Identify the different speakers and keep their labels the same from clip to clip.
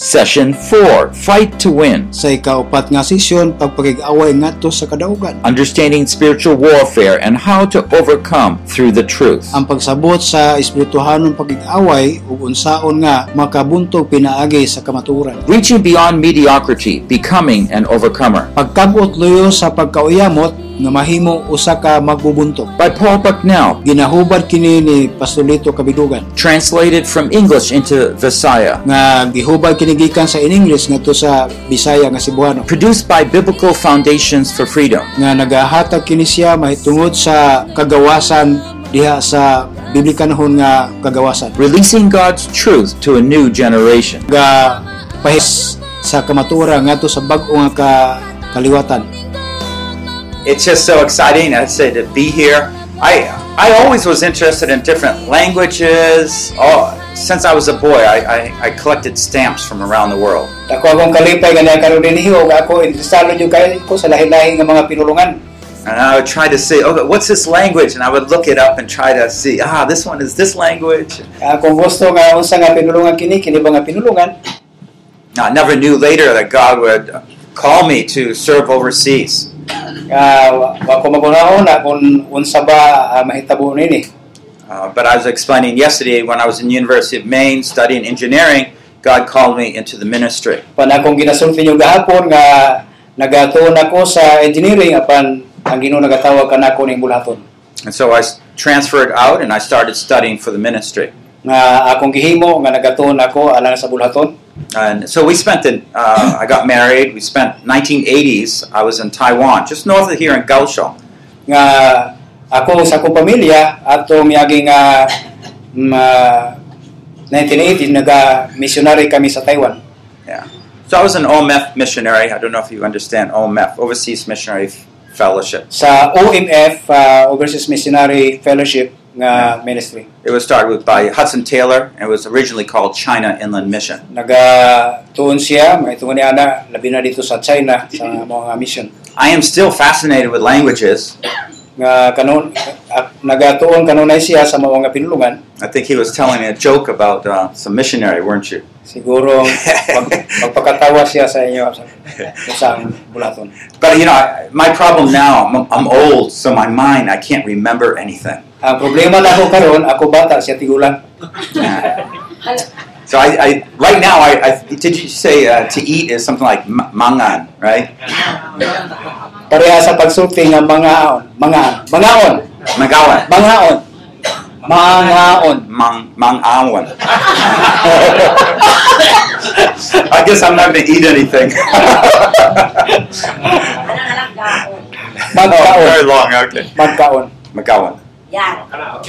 Speaker 1: Session 4, Fight to Win.
Speaker 2: Sa ikaapat nga sesyon, pagpagig-away ngadto sa kadaugan.
Speaker 1: Understanding spiritual warfare and how to overcome through the truth.
Speaker 2: Ang pagsabot sa espirituhanong pagig-away ug unsaon nga makabuntog pinaagi sa kamaturan.
Speaker 1: Reaching beyond mediocrity, becoming an overcomer.
Speaker 2: Pagkabot luyo sa pagkauyamot nga mahimo usa ka magbubuntog.
Speaker 1: By Paul Bucknell,
Speaker 2: Ginahubad kini ni Pastolito Kabidugan
Speaker 1: translated from English into Visaya.
Speaker 2: nga gihubad kini gikan sa English ngadto sa Bisaya nga Cebuano
Speaker 1: Produced by Biblical Foundations for Freedom.
Speaker 2: nga nagahatag kini siya mahitungod sa kagawasan diha sa biblikanhon nga kagawasan.
Speaker 1: Releasing God's truth to a new generation.
Speaker 2: nga pahis sa kamatura ngadto sa bag-o nga ka- kaliwatan.
Speaker 1: it's just so exciting. I'd say to be here. I I always was interested in different languages. Oh, since I was a boy, I, I, I collected stamps from around the world.
Speaker 2: Ako akong kalipay nga nakaroon din hiyo, ako interesado jud kay ko sa lahi-lahi nga mga pinulungan.
Speaker 1: And I would try to say, okay, what's this language? And I would look it up and try to see, ah, this one is this language.
Speaker 2: Ako Ah, gusto nga unsa nga pinulungan kini, kini ba nga pinulungan?
Speaker 1: Now, I never knew later that God would call me to serve overseas.
Speaker 2: Uh, wa ko magunahon na kung unsa ba ah, mahitabo nini.
Speaker 1: Uh, but I was explaining yesterday when I was in University of Maine studying engineering, God called me into the ministry.
Speaker 2: Pan akong ginasulti niyo gahapon nga nagatuon ako sa engineering apan ang Ginoo nagatawag kanako ning bulaton.
Speaker 1: And so I s- transferred out and I started studying for the ministry.
Speaker 2: Nga akong gihimo nga nagatuon ako alang sa bulaton.
Speaker 1: And so we spent the, uh, I got married, we spent 1980s, I was in Taiwan, just north of here in Kaohsiung.
Speaker 2: nga ako sa akong pamilya ato ah, miagi nga mm, ma 1980 naga missionary kami sa Taiwan.
Speaker 1: So I was an OMF missionary, I don't know if you understand OMF, Overseas Missionary F- Fellowship.
Speaker 2: Sa OMF uh, Overseas Missionary Fellowship nga ministry.
Speaker 1: It was started with by Hudson Taylor, and it was originally called China Inland Mission.
Speaker 2: Naga tuon siya, may tuon niya na labi na dito sa China sa mga mission.
Speaker 1: I am still fascinated with languages.
Speaker 2: Nga kanon ah, at nagatuon kanunay siya sa mga pinulungan.
Speaker 1: I think he was telling me a joke about uh, some missionary, weren't you?
Speaker 2: Siguro pag, pagpakatawa siya sa inyo sa isang bulaton.
Speaker 1: But you know, I- my problem now, I'm, I'm old, so my mind, I can't remember anything.
Speaker 2: Ang problema na ako karon, ako bata siya tigulang.
Speaker 1: So I, I right now, I, I did you say uh, to eat is something like ma- mangan, right?
Speaker 2: Pareha sa pagsulti ng mangaon. Mangaon. Mangaon.
Speaker 1: Mangawan.
Speaker 2: Mangaon. Mangaon.
Speaker 1: Mang mangawan. I guess I'm not going to eat anything. Oh,
Speaker 2: Magkaon.
Speaker 1: very long. Okay.
Speaker 2: Magkaon.
Speaker 1: Mangawan.
Speaker 3: Yeah,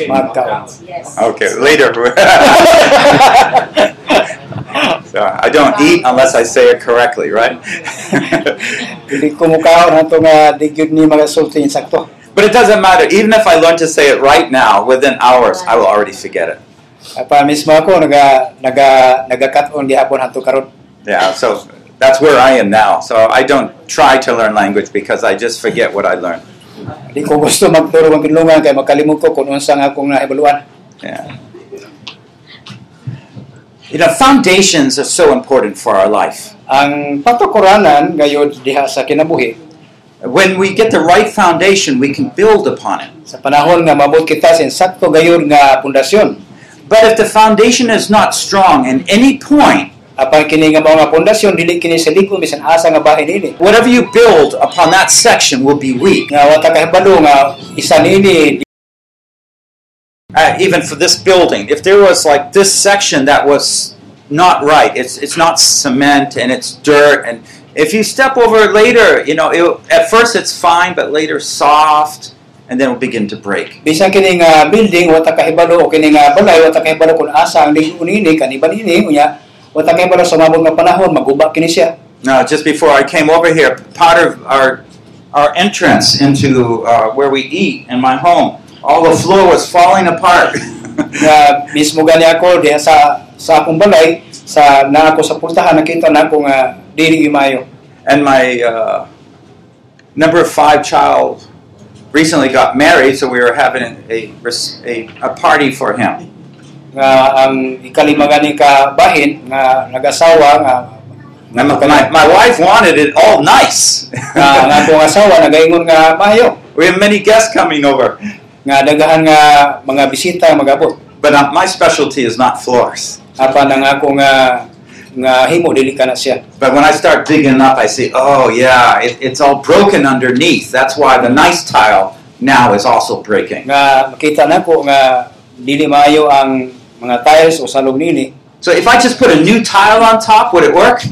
Speaker 2: Magkaon.
Speaker 3: yes.
Speaker 1: Okay. Later. so I don't eat unless I say it correctly, right?
Speaker 2: Hindi ko mukaon ang nga digyod ni mga sulti yung sakto.
Speaker 1: but it doesn't matter. Even if I learn to say it right now, within hours, I will already forget it.
Speaker 2: Apa mismo ako naga naga naga on di hapon hanto karon.
Speaker 1: Yeah, so that's where I am now. So I don't try to learn language because I just forget what I learned.
Speaker 2: Di ko gusto magturo ng pinulungan kay makalimot ko kung unsa nga akong naibaluan.
Speaker 1: Yeah. You know, foundations are so important for our life.
Speaker 2: Ang patukuranan gayud diha sa kinabuhi
Speaker 1: When we get the right foundation, we can build upon it.
Speaker 2: sa panahon nga mabot kita sa sakto gayud nga pundasyon.
Speaker 1: But if the foundation is not strong in any point,
Speaker 2: Apan kini nga mga pundasyon dili kini sa ligon bisan asa nga bahin ini.
Speaker 1: whatever you build upon that section will be weak.
Speaker 2: nga wata kahibalo nga isa nini
Speaker 1: Uh, even for this building, if there was like this section that was not right, it's it's not cement and it's dirt, and if you step over it later, you know, it, at first it's fine, but later soft, and then it'll begin to break.
Speaker 2: bisan kini nga building wata kahibalo o kini nga balay wata kahibalo kung asa ang ligon nini kanibal ini unya wata kahibalo sa mabot nga panahon maguba kini siya
Speaker 1: Now, just before I came over here, part of our our entrance into uh, where we eat in my home, all the floor was falling apart.
Speaker 2: nga mismo gani ako diha sa sa akong balay sa na ako sa pultahan nakita na ako nga dili imayo
Speaker 1: and my uh, number five child recently got married, so we were having a a, a, a party for him.
Speaker 2: nga ang ikalima gani ka bahin nga nagasawa nga
Speaker 1: My, my, my wife wanted it all nice.
Speaker 2: nga, nga akong asawa nagaingon nga maayo
Speaker 1: we have many guests coming over,
Speaker 2: nga daghan nga mga bisita magabot
Speaker 1: but uh, my specialty is not floors.
Speaker 2: apan ang ako nga nga himo dili ka na siya
Speaker 1: But when I start digging up, I see, oh yeah, it, it's all broken underneath. That's why the nice tile now is also breaking.
Speaker 2: nga makita nako nga dili maayo ang mga tiles o salog nini
Speaker 1: So if I just put a new tile on top, would it work?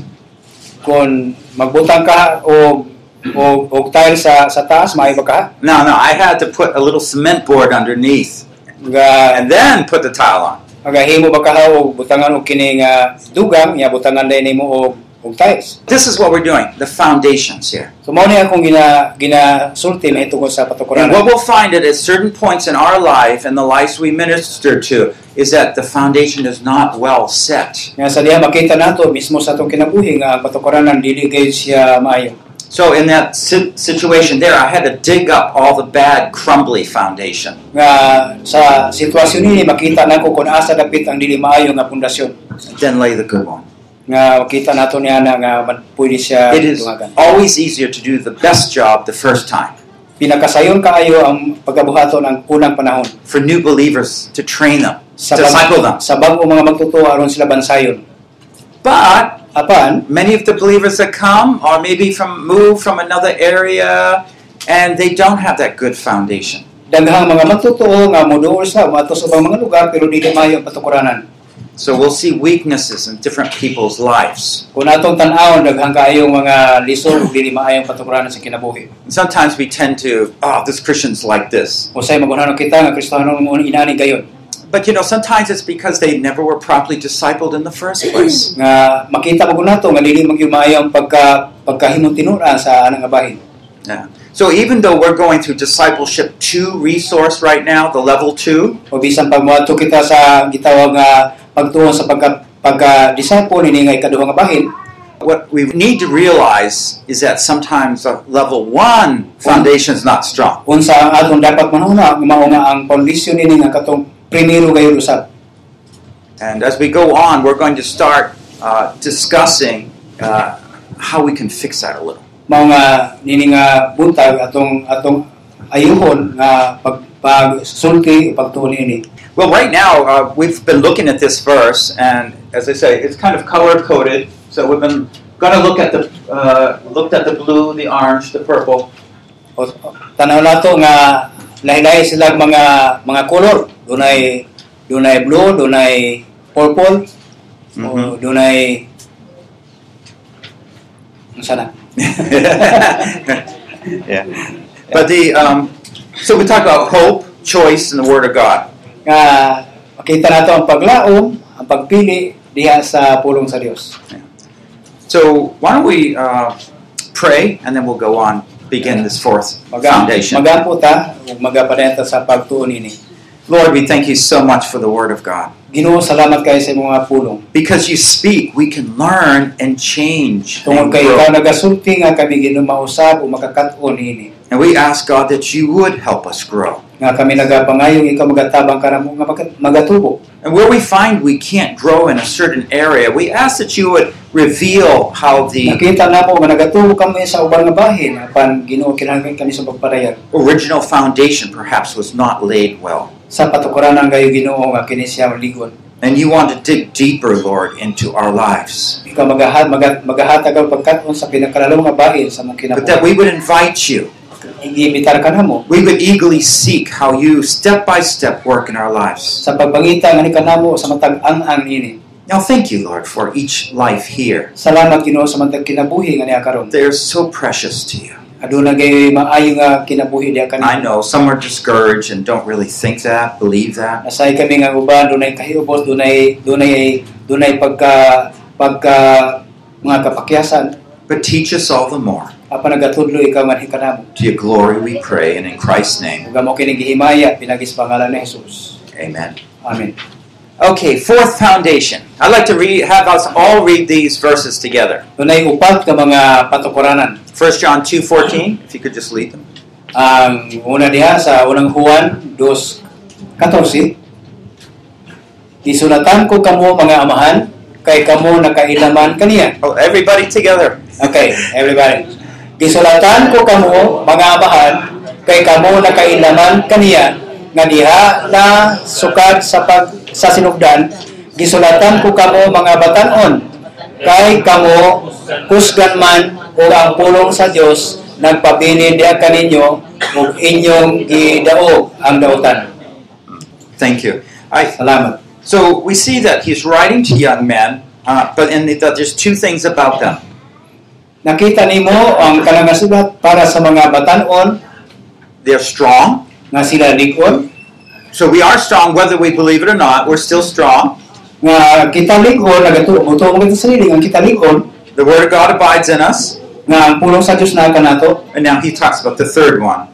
Speaker 2: kon magbutang ka o o og tile sa sa taas maayo ba ka
Speaker 1: No, no, I had to put a little cement board underneath
Speaker 2: nga
Speaker 1: and then put the tile on.
Speaker 2: magahimo ba ka og butangan og kini nga dugang nga butangan dai nimo og og tiles
Speaker 1: This is what we're doing the foundations here.
Speaker 2: so mao ni akong gina ginasulti na itungod
Speaker 1: And
Speaker 2: sa
Speaker 1: what
Speaker 2: patukuranan
Speaker 1: we'll find at at certain points in our life and the lives we minister to is that the foundation is not well set.
Speaker 2: nga sa diha makita nato mismo sa atong kinabuhi nga ang patukuranan dili gay siya maayo
Speaker 1: So, in that si- situation there, I had to dig up all the bad, crumbly foundation.
Speaker 2: nga sa sitwasyon nini makita nako kung asa dapit ang dili maayo nga pundasyon
Speaker 1: then lay the good one.
Speaker 2: nga makita nato niya na nga man- pwede siya
Speaker 1: It is
Speaker 2: tungagan
Speaker 1: always easier to do the best job the first time.
Speaker 2: pinakasayon kaayo ang pagabuhaton ang unang panahon
Speaker 1: For new believers to train them,
Speaker 2: sa
Speaker 1: disciple them.
Speaker 2: sa bag-o mga magtutuo aron sila bansayon
Speaker 1: But
Speaker 2: apan
Speaker 1: many of the believers that come are maybe from move from another area and they don't have that good foundation.
Speaker 2: daghang mga magtutuo nga moduol sa mato sa ubang mga lugar pero dili maayo ang patukuranan
Speaker 1: So we'll see weaknesses in different people's lives.
Speaker 2: kung atong tan-awon daghang kaayo mga lisod dili maayo ang patukuranan sa kinabuhi
Speaker 1: And sometimes we tend to, oh, this Christian's like this.
Speaker 2: usay magunhanon kita nga Kristiyano mo inani gayon
Speaker 1: But you know, sometimes it's because they never were properly discipled in the first place.
Speaker 2: nga makita ko nato nga dili magyumayo ang pagka pagkahimutinura sa anang abahin.
Speaker 1: So even though we're going through discipleship 2 resource right now, the level 2,
Speaker 2: O bisan pag moadto kita ah, sa gitawag nga pagtuon sa pagka pagka disciple ini nga ikaduhang abahin,
Speaker 1: What we need to realize is that sometimes the level one foundation is not strong.
Speaker 2: unsa ang atong ah, dapat manuna mao nga ang foundation ah, ini nga katong primero gayud usab.
Speaker 1: And as we go on, we're going to start uh, discussing uh, how we can fix that a little.
Speaker 2: Mao nga nini nga buntag atong atong ayuhon ah, nga pag pagsulti o pagtuon ini.
Speaker 1: Well, right now, uh, we've been looking at this verse, and as I say, it's kind of color coded. So we've been going to look at the uh, looked at the blue, the orange, the purple.
Speaker 2: O, tanaw nato nga lahi-lahi sila mga ah, mga color dunay dunay blue dunay purple
Speaker 1: Mhm.
Speaker 2: o dunay unsa na
Speaker 1: yeah. But the um, so we talk about hope, choice, and the Word of God.
Speaker 2: nga makita nato ang paglaom ang pagpili diha sa pulong sa Dios
Speaker 1: So why don't we uh, pray and then we'll go on begin this fourth
Speaker 2: Maga-
Speaker 1: foundation.
Speaker 2: magampo ta ug magapadayta sa pagtuon ini
Speaker 1: Lord, we thank you so much for the Word of God.
Speaker 2: Ginoo salamat kay sa imong mga pulong
Speaker 1: Because you speak, we can learn and change.
Speaker 2: tungod
Speaker 1: and
Speaker 2: kay
Speaker 1: grow.
Speaker 2: ikaw nagasulti nga kami Ginoo mausab o makakatuon ini
Speaker 1: And we ask God that you would help us grow.
Speaker 2: nga kami nagapangayong ikaw magatabang karamo nga magat- magatubo
Speaker 1: And where we find we can't grow in a certain area, we ask that you would reveal how the
Speaker 2: Nakita na po nga nagatuo kami sa ubang nga bahin apan Ginoo kinahanglan kami sa pagpadayag
Speaker 1: original foundation perhaps was not laid well.
Speaker 2: sa patukuran ang gayo Ginoo nga kini siya ligon.
Speaker 1: And you want to dig deeper, Lord, into our lives.
Speaker 2: Ikaw magahat magat, magahatag ang pagkaton sa pinakalalong nga bahin sa mong
Speaker 1: But that
Speaker 2: kinabuhi.
Speaker 1: we would invite you
Speaker 2: Igibitar ka namo
Speaker 1: we would eagerly seek how you step by step work in our lives.
Speaker 2: sa pagpangita nga ni kanamo sa matag ang ang ini.
Speaker 1: Now, thank you, Lord, for each life here.
Speaker 2: Salamat Ginoo sa matag kinabuhi nga niya karon.
Speaker 1: They are so precious to you.
Speaker 2: Aduna gayoy maayo nga kinabuhi
Speaker 1: I
Speaker 2: diha kami.
Speaker 1: know some are discouraged and don't really think that, believe that.
Speaker 2: Nasay kami nga uban dunay kahiubos dunay dunay dunay pagka pagka mga kapakyasan
Speaker 1: But teach us all the more.
Speaker 2: apan nagatudlo ikaw nga ni kanamo.
Speaker 1: To your glory we pray, and in Christ's name,
Speaker 2: Huwag mo kinigihimaya, pinagis pangalan ni Jesus.
Speaker 1: amen.
Speaker 2: Amen.
Speaker 1: Okay, fourth foundation. I'd like to read, have us all read these verses together.
Speaker 2: Dunay upat ka mga patukuranan.
Speaker 1: 1 John 2.14, if you could just lead them.
Speaker 2: Ang una diha sa unang Juan 2.14 Gisulatan ko kamo mga amahan kay kamo nakailaman kaniya.
Speaker 1: Oh, everybody together.
Speaker 2: Okay, everybody. Gisulatan ko kamo mga amahan kay kamo nakailaman kaniya nga diha na sukat sa pag sa sinugdan gisulatan ko kamo mga batan-on kay kamo kusgan man o ang pulong sa Dios nagpabilin diha kaninyo ug inyong gidaog ang dautan.
Speaker 1: Thank you. I,
Speaker 2: Salamat.
Speaker 1: so we see that he's writing to young men, uh, but and that there's two things about them.
Speaker 2: Nakita nimo ang kanangasulat para sa mga batan-on
Speaker 1: They're strong.
Speaker 2: nga sila ligon
Speaker 1: So we are strong, whether we believe it or not. We're still strong.
Speaker 2: nga kita ligon nagatuo kita sa liling ang kita ligon
Speaker 1: The Word of God abides in us.
Speaker 2: nga ang pulong sa Dios na kanato
Speaker 1: And now he talks about the third one.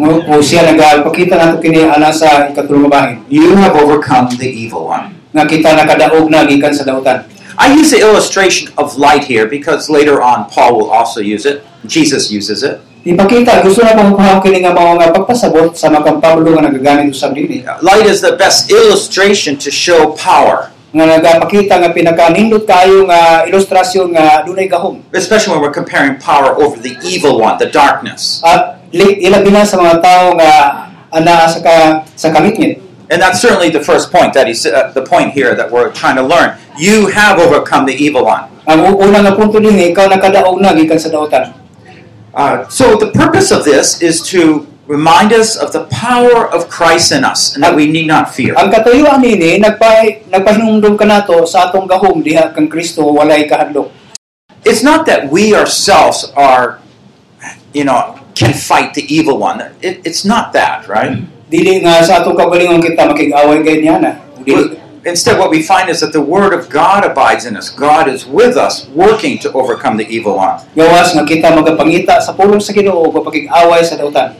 Speaker 2: mo mo siya nagpakita nato kini ana sa ikatulong bahin
Speaker 1: You have overcome the evil one.
Speaker 2: nga kita nakadaog na gikan sa dautan.
Speaker 1: I use the illustration of light here because later on Paul will also use it. Jesus uses it.
Speaker 2: Ipakita gusto na kong kuha kini nga mga nga pagpasabot sa makampamulo nga nagagamit usab dili
Speaker 1: Light is the best illustration to show power,
Speaker 2: nga nagapakita nga pinakaanindot kayo nga ilustrasyon nga dunay gahom
Speaker 1: especially when we're comparing power over the evil one, the darkness.
Speaker 2: at li- ilabi na sa mga tao nga ana sa ka, sa kamitngit.
Speaker 1: And that's certainly the first point that he's uh, the point here that we're trying to learn. You have overcome the evil one.
Speaker 2: Ang u- una nga punto din ikaw nakadaog na gikan sa daotan.
Speaker 1: Uh, so the purpose of this is to remind us of the power of Christ in us, and that we need not fear.
Speaker 2: Ang katuyuan nini nagpa nagpahinumdom kanato sa atong gahom diha kang Kristo walay kahadlok.
Speaker 1: it's not that we ourselves are, you know, can fight the evil one. It, it's not that, right?
Speaker 2: Dili nga sa atong kabalingon kita makig-away gayud niya na. Dili.
Speaker 1: Instead, what we find is that the Word of God abides in us. God is with us, working to overcome the evil one.
Speaker 2: Gawas nga kita magapangita sa pulong sa Ginoo ug away sa daotan.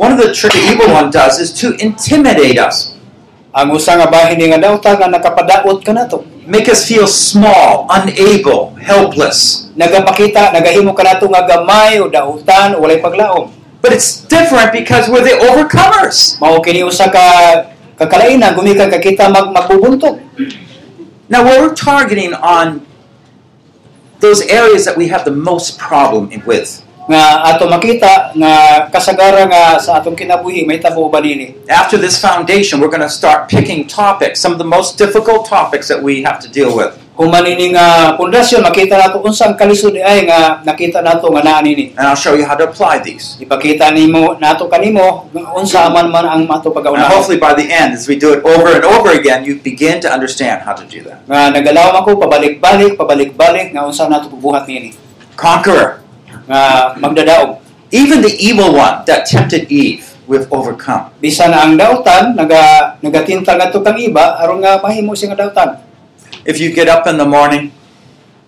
Speaker 1: One of the tricks the evil one does is to intimidate us,
Speaker 2: Ang usa nga bahin nga daotan nga nakapadaot kanato.
Speaker 1: make us feel small, unable, helpless.
Speaker 2: Nagapakita nagahimo kanato nga gamay o daotan o walay paglaom.
Speaker 1: But it's different because we're the overcomers.
Speaker 2: mao kini usa ka kakalainan gumikan ka kita mag magbubuntog
Speaker 1: Now, we're targeting on those areas that we have the most problem with.
Speaker 2: nga ato makita nga kasagara nga sa atong kinabuhi may tabo ba nini
Speaker 1: After this foundation, we're going to start picking topics, some of the most difficult topics that we have to deal with.
Speaker 2: kung manini nga pundasyon makita nato unsang kalisod ay nga nakita nato nga naa nini
Speaker 1: And I'll show you how to apply these.
Speaker 2: ipakita nimo nato kanimo nga unsa man man ang mato
Speaker 1: And
Speaker 2: pagkauna
Speaker 1: hopefully, by the end, as we do it over and over again, you begin to understand how to do that.
Speaker 2: nga nagalaw ako pabalik-balik pabalik-balik nga unsa nato buhat nini
Speaker 1: Conqueror.
Speaker 2: nga magdadaog
Speaker 1: Even the evil one that tempted Eve, we've overcome.
Speaker 2: bisan ang dautan naga nagatintang ato kang iba aron nga mahimo siya nga dautan
Speaker 1: If you get up in the morning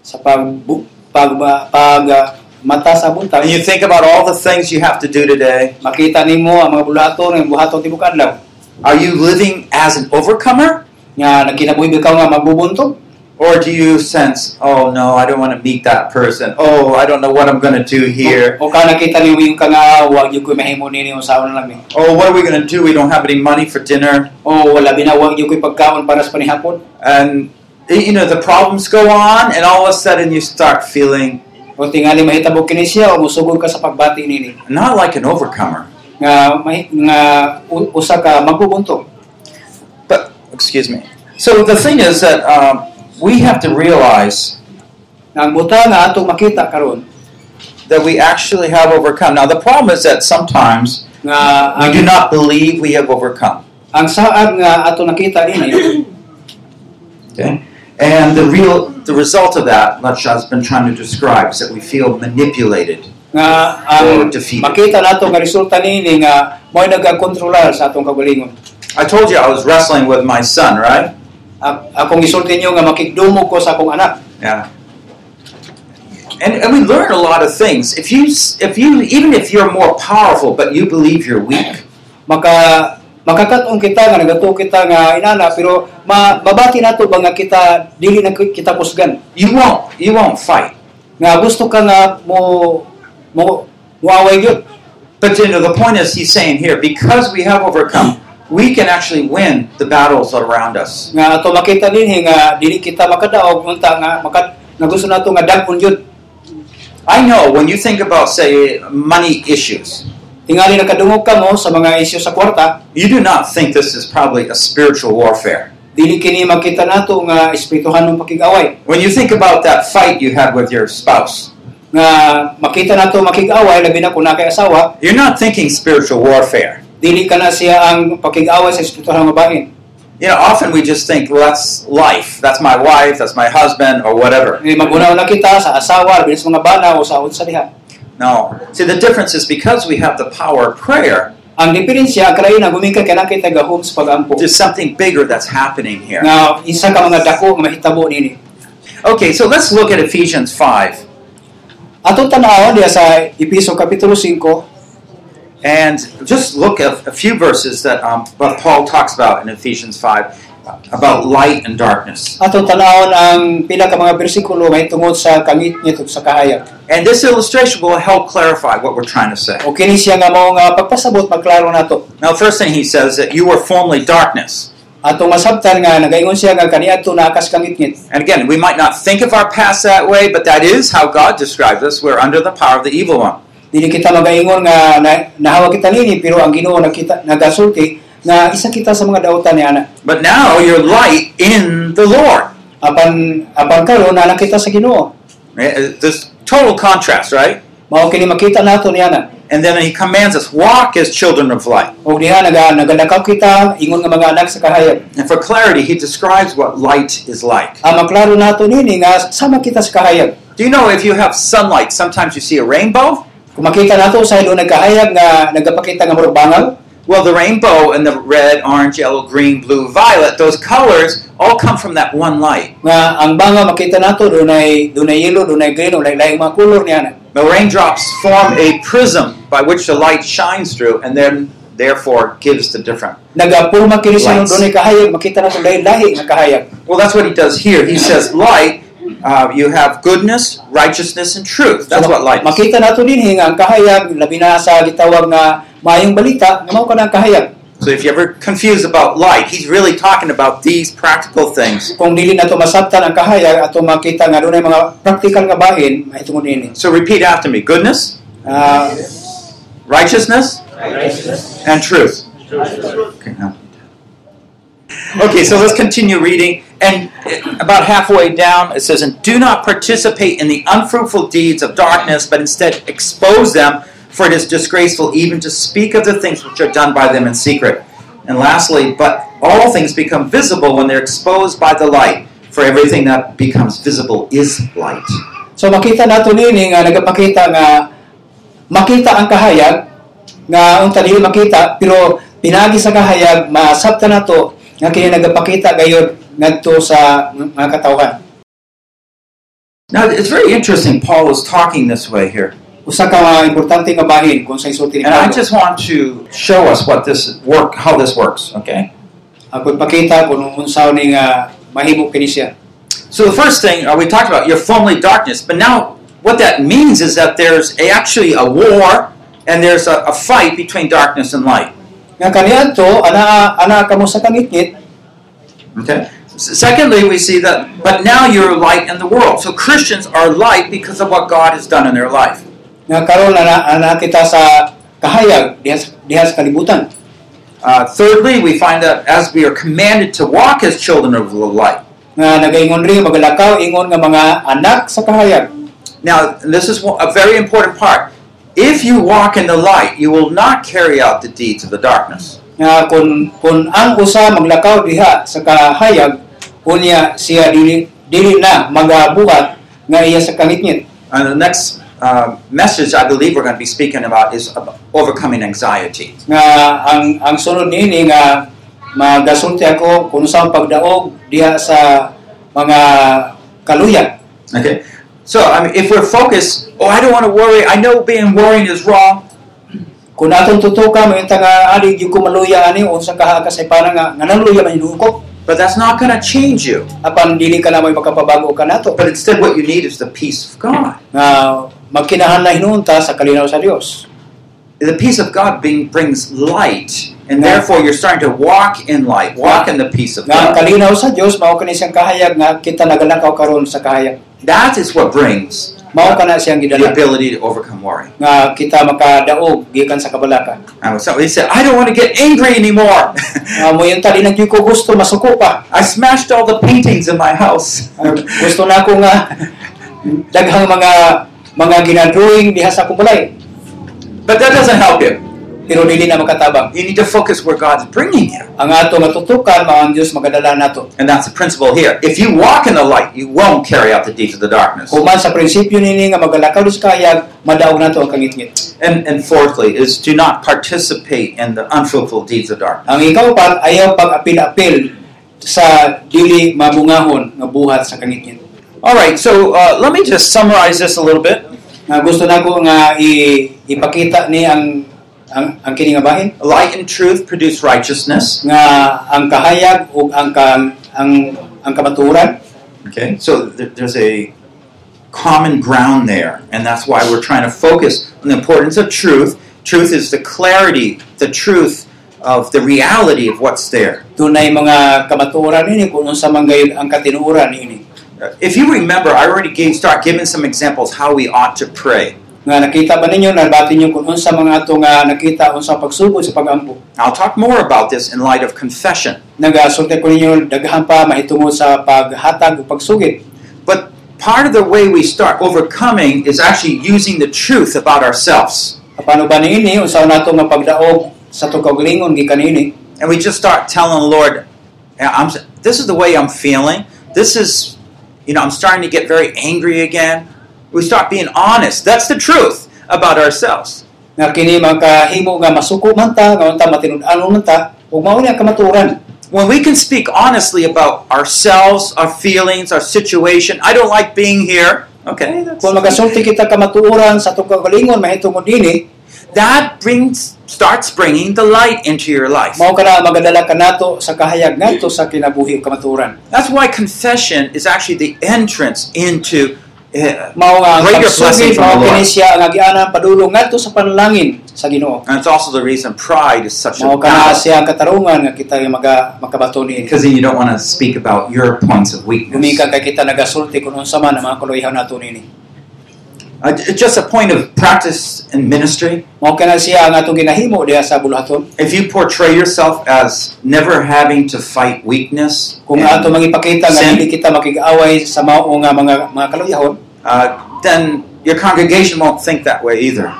Speaker 2: sa pag bu- pag pag ah, mata sa buntag
Speaker 1: and you think about all the things you have to do today,
Speaker 2: makita nimo ang mga bulaton ang buhaton tibok adlaw
Speaker 1: are you living as an overcomer?
Speaker 2: nga nagkinabuhi ka nga magbubuntog
Speaker 1: Or do you sense, oh no, I don't want to meet that person. Oh, I don't know what I'm going to do here.
Speaker 2: o ka nakita nimo yung ka nga wag yung ko mahimo ninyo sa una lang ni
Speaker 1: Oh, what are we going to do? We don't have any money for dinner.
Speaker 2: o wala binawag yung ko pagkaon para sa panihapon
Speaker 1: And, you know, the problems go on, and all of a sudden you start feeling
Speaker 2: o tingali mahitabog kini siya o musugod ka sa pagbati nini
Speaker 1: not like an overcomer,
Speaker 2: nga may, nga u- usa ka magbubuntog
Speaker 1: but, excuse me. So the thing is that um, we have to realize
Speaker 2: nga ang buta nga atong makita karon
Speaker 1: that we actually have overcome. Now, the problem is that sometimes
Speaker 2: nga
Speaker 1: we do
Speaker 2: ang,
Speaker 1: not believe we have overcome.
Speaker 2: ang saad nga ato nakita ini
Speaker 1: Okay? And the real the result of that, which I've been trying to describe, is that we feel manipulated
Speaker 2: nga
Speaker 1: or
Speaker 2: ang
Speaker 1: defeated.
Speaker 2: makita nato nga resulta nini nga mo'y nagkakontrolar sa atong kagalingon.
Speaker 1: I told you I was wrestling with my son, right?
Speaker 2: A- akong isulti niyo nga makigdumog ko sa akong anak.
Speaker 1: Yeah. And, and we learn a lot of things. If you if you even if you're more powerful, but you believe you're weak,
Speaker 2: Maka makakatong kita nga nagatuo kita nga inana pero ma, mabati nato ba nga kita dili na ki- kita pusgan.
Speaker 1: you won't you won't fight.
Speaker 2: Nga gusto ka nga mo mo muaway gyud.
Speaker 1: But you know the point is he's saying here because we have overcome, we can actually win the battles around us.
Speaker 2: nga ato makita dinhi nga dili kita makadaog unta nga makat nga gusto nato nga daghon yun
Speaker 1: I know when you think about, say, money issues,
Speaker 2: tingali nakadungog kamo sa mga isyu sa kwarta
Speaker 1: you do not think this is probably a spiritual warfare.
Speaker 2: dili kini makita nato nga espirituhan ng pakig-away
Speaker 1: When you think about that fight you had with your spouse,
Speaker 2: nga makita nato makig-away labi na kun na kay asawa
Speaker 1: you're not thinking spiritual warfare.
Speaker 2: dili kana siya ang pakig-away sa espirituhan nga bahin
Speaker 1: You know, often we just think, well, that's life. That's my wife, that's my husband, or whatever.
Speaker 2: Ngayon, Eh, magunaw na kita sa asawa, bilis mga bana o sa unsa diha.
Speaker 1: No. See, the difference is because we have the power of prayer,
Speaker 2: Ang diferensya kay na gumingka kana kay taga home sa pagampo.
Speaker 1: there's something bigger that's happening here.
Speaker 2: Nga isa ka mga dako nga mahitabo nini.
Speaker 1: Okay, so let's look at Ephesians 5.
Speaker 2: Atong tanaw diha sa Episo kapitulo 5
Speaker 1: And just look at a few verses that um, what Paul talks about in Ephesians 5 about light and darkness.
Speaker 2: atong tanawon ang pila ka mga bersikulo may tungod sa kangit nito sa kahayag.
Speaker 1: And this illustration will help clarify what we're trying to say.
Speaker 2: O kini siya nga mao nga pagpasabot magklaro nato.
Speaker 1: Now, first thing he says that you were formerly darkness.
Speaker 2: Atong masabtan nga nagaingon siya nga kaniadto naakas kangitngit.
Speaker 1: And again, we might not think of our past that way, but that is how God describes us. We're under the power of the evil one.
Speaker 2: Dili kita magaingon nga na, nahawa kita nini pero ang Ginoo nagkita nagasulti nga isa kita sa mga dautan ni ana.
Speaker 1: But now you're light in the Lord.
Speaker 2: apan apan karon na nakita sa Ginoo.
Speaker 1: Eh, This total contrast, right?
Speaker 2: Mao kini makita nato niya na.
Speaker 1: And then he commands us walk as children of light.
Speaker 2: Og diha naga nagadakaw kita ingon nga mga anak sa kahayag.
Speaker 1: And for clarity, he describes what light is like.
Speaker 2: Ang maklaro nato nini nga sama kita sa kahayag.
Speaker 1: Do you know if you have sunlight, sometimes you see a rainbow?
Speaker 2: Kung makita nato sa ilo nagkahayag nga nagapakita nga murag bangal,
Speaker 1: Well, the rainbow and the red, orange, yellow, green, blue, violet, those colors all come from that one light.
Speaker 2: nga ang bangal makita nato dunay dunay yellow, dunay green, dunay laing mga kulor niya na.
Speaker 1: The raindrops form a prism by which the light shines through and then therefore gives the different.
Speaker 2: Nagapurma kini sa
Speaker 1: Lights.
Speaker 2: dunay eh, kahayag makita nato lahi lahi nga kahayag.
Speaker 1: Well, that's what he does here. He says light, uh, you have goodness, righteousness, and truth. That's what light is.
Speaker 2: Makita nato dinhi eh, nga ang kahayag labi na sa gitawag nga maayong balita nga mao kana ang kahayag.
Speaker 1: So if you're ever confused about light, he's really talking about these practical things.
Speaker 2: kung dili na to masabtan ang kahayag ato makita nga dunay mga praktikal nga bahin mahitungod ini
Speaker 1: So repeat after me goodness,
Speaker 2: eh. Ah,
Speaker 1: righteousness,
Speaker 3: Righteousness.
Speaker 1: and truth. Okay, now. Okay, so let's continue reading. And uh, about halfway down, it says, And do not participate in the unfruitful deeds of darkness, but instead expose them, for it is disgraceful even to speak of the things which are done by them in secret. And lastly, but all things become visible when they're exposed by the light, for everything that becomes visible is light.
Speaker 2: so makita nato nini eh, nga nagapakita nga makita ang kahayag nga unta dili makita pero pinagi sa kahayag masabtan nato nga kini nagapakita gayud ngadto sa mga katawhan
Speaker 1: Now, it's very interesting Paul is talking this way here.
Speaker 2: usa ka mga importante nga bahin kung sa isulti ni
Speaker 1: And I
Speaker 2: Pablo
Speaker 1: just want to show us what this work, how this works, okay?
Speaker 2: ako ipakita kung unsaon ni nga mahimo kini siya
Speaker 1: So the first thing uh, we talked about, you're formerly darkness, but now what that means is that there's a, actually a war and there's a, a fight between darkness and light.
Speaker 2: nga kaniadto ana ana kamo sa kangitngit
Speaker 1: Okay. S- Secondly, we see that, but now you're light in the world. So Christians are light because of what God has done in their life.
Speaker 2: nga karon na, na kita sa kahayag diha sa- diha sa kalibutan
Speaker 1: Uh, thirdly, we find that as we are commanded to walk as children of the light.
Speaker 2: nga nagaingon rin magalakaw ingon nga mga anak sa kahayag
Speaker 1: Now, this is one- a very important part. If you walk in the light, you will not carry out the deeds of the darkness.
Speaker 2: nga kun kun ang usa maglakaw diha sa kahayag unya siya dili dili na magabuhat nga iya sa kangitngit
Speaker 1: And the next uh, message I believe we're going to be speaking about is about overcoming anxiety.
Speaker 2: nga ang ang sunod niini nga magasulti ako kung sa pagdaog diha sa mga kaluya
Speaker 1: Okay? So, I mean, if we're focused, oh, I don't want to worry, I know being worrying is wrong,
Speaker 2: kung atong tutuka mo nga ali gyud ko maluya ani unsa kaha ka sa para nga nga naluya man hinungkop
Speaker 1: but that's not going to change you.
Speaker 2: apan dili ka na may makapabago ka nato
Speaker 1: But instead, what you need is the peace of God.
Speaker 2: nga magkinahan na hinunta sa kalinaw sa Dios
Speaker 1: the peace of God being, brings light, and
Speaker 2: Nga.
Speaker 1: therefore you're starting to walk in light, walk in the peace of
Speaker 2: Nga ang
Speaker 1: God.
Speaker 2: kalinaw sa Dios mao kini siyang kahayag nga kita nagalakaw karon sa kahayag.
Speaker 1: That is what brings
Speaker 2: Mao kana siyang
Speaker 1: the
Speaker 2: gidala
Speaker 1: ability to overcome worry.
Speaker 2: nga kita makadaog gikan sa kabalaka.
Speaker 1: And so he said, I don't want to get angry anymore.
Speaker 2: Nga mo yung tali nagyo ko gusto masuko pa.
Speaker 1: I smashed all the paintings in my house.
Speaker 2: Ah, gusto na ako nga daghang mga mga ginadrawing diha sa kumulay
Speaker 1: But that doesn't help you.
Speaker 2: pero dili na makatabang.
Speaker 1: You need to focus where God's bringing you.
Speaker 2: Ang ato matutukan mao ang Dios magadala nato.
Speaker 1: And that's the principle here. If you walk in the light, you won't carry out the deeds of the darkness.
Speaker 2: Human sa prinsipyo nini nga magalakaw sa kahayag madaog nato ang kangitngit.
Speaker 1: And, and fourthly, is do not participate in the unfruitful deeds of darkness.
Speaker 2: Ang ikaw pa ayaw pag apil-apil sa dili mabungahon nga buhat sa kangitngit.
Speaker 1: All right, so uh, let me just summarize this a little bit.
Speaker 2: Nga gusto nako nga i- ipakita ni ang ang, ang kini nga bahin
Speaker 1: Light and truth produce righteousness.
Speaker 2: nga ang kahayag ug ang kang ang ang kabaturan
Speaker 1: Okay, so th- there's a common ground there, and that's why we're trying to focus on the importance of truth. Truth is the clarity, the truth of the reality of what's there.
Speaker 2: dunay mga kabaturan ini kung unsa man gayon ang katinuuran ini
Speaker 1: Uh, If you remember, I already gave, start giving some examples how we ought to pray.
Speaker 2: nga nakita ba ninyo nabati niyo kung unsa mga ato nga nakita unsa ang pagsugod sa pagampo
Speaker 1: I'll talk more about this in light of confession.
Speaker 2: nagasulti ko ninyo daghan pa mahitungod sa paghatag ug pagsugid
Speaker 1: But part of the way we start overcoming is actually using the truth about ourselves.
Speaker 2: paano ba niini unsa nato nga pagdaog sa tukaw lingon gikan ini
Speaker 1: and we just start telling the Lord, "Yeah, I'm, this is the way I'm feeling. This is, you know, I'm starting to get very angry again. We start being honest. That's the truth about ourselves.
Speaker 2: nga kini makahimo nga masuko man ta nga unta matinud-anon man ta ug mao ni ang kamaturan
Speaker 1: When we can speak honestly about ourselves, our feelings, our situation, I don't like being here. Okay, that's,
Speaker 2: Kung magasulti kita kamatuoran sa itong kagalingon, mahitungod dini,
Speaker 1: that brings starts bringing the light into your life.
Speaker 2: mao ka na magadala ka nato sa kahayag nato sa kinabuhi o kamatuoran.
Speaker 1: That's why confession is actually the entrance into uh,
Speaker 2: Mao nga ang
Speaker 1: Greater blessing
Speaker 2: pagsugid,
Speaker 1: from the
Speaker 2: mao
Speaker 1: Lord.
Speaker 2: kini siya ang agianan padulong nato sa panalangin sa Ginoo.
Speaker 1: and it's also the reason pride is such a
Speaker 2: Mao ka
Speaker 1: battle.
Speaker 2: na siya ang katarungan nga kita yung maga makabato ni
Speaker 1: Because then you don't want to speak about your points of weakness.
Speaker 2: Gumika kay kita nagasulti kung unsa man ang mga kuluyahan nato nini.
Speaker 1: Uh, j- just a point of practice in ministry.
Speaker 2: Mao ka na siya ang atong ginahimo diha sa buluhaton.
Speaker 1: If you portray yourself as never having to fight weakness,
Speaker 2: Kung
Speaker 1: and,
Speaker 2: ato mangipakita nga
Speaker 1: Sin.
Speaker 2: dili kita makigaaway sa mao nga mga mga kaluyahon
Speaker 1: uh, then your congregation won't think that way either.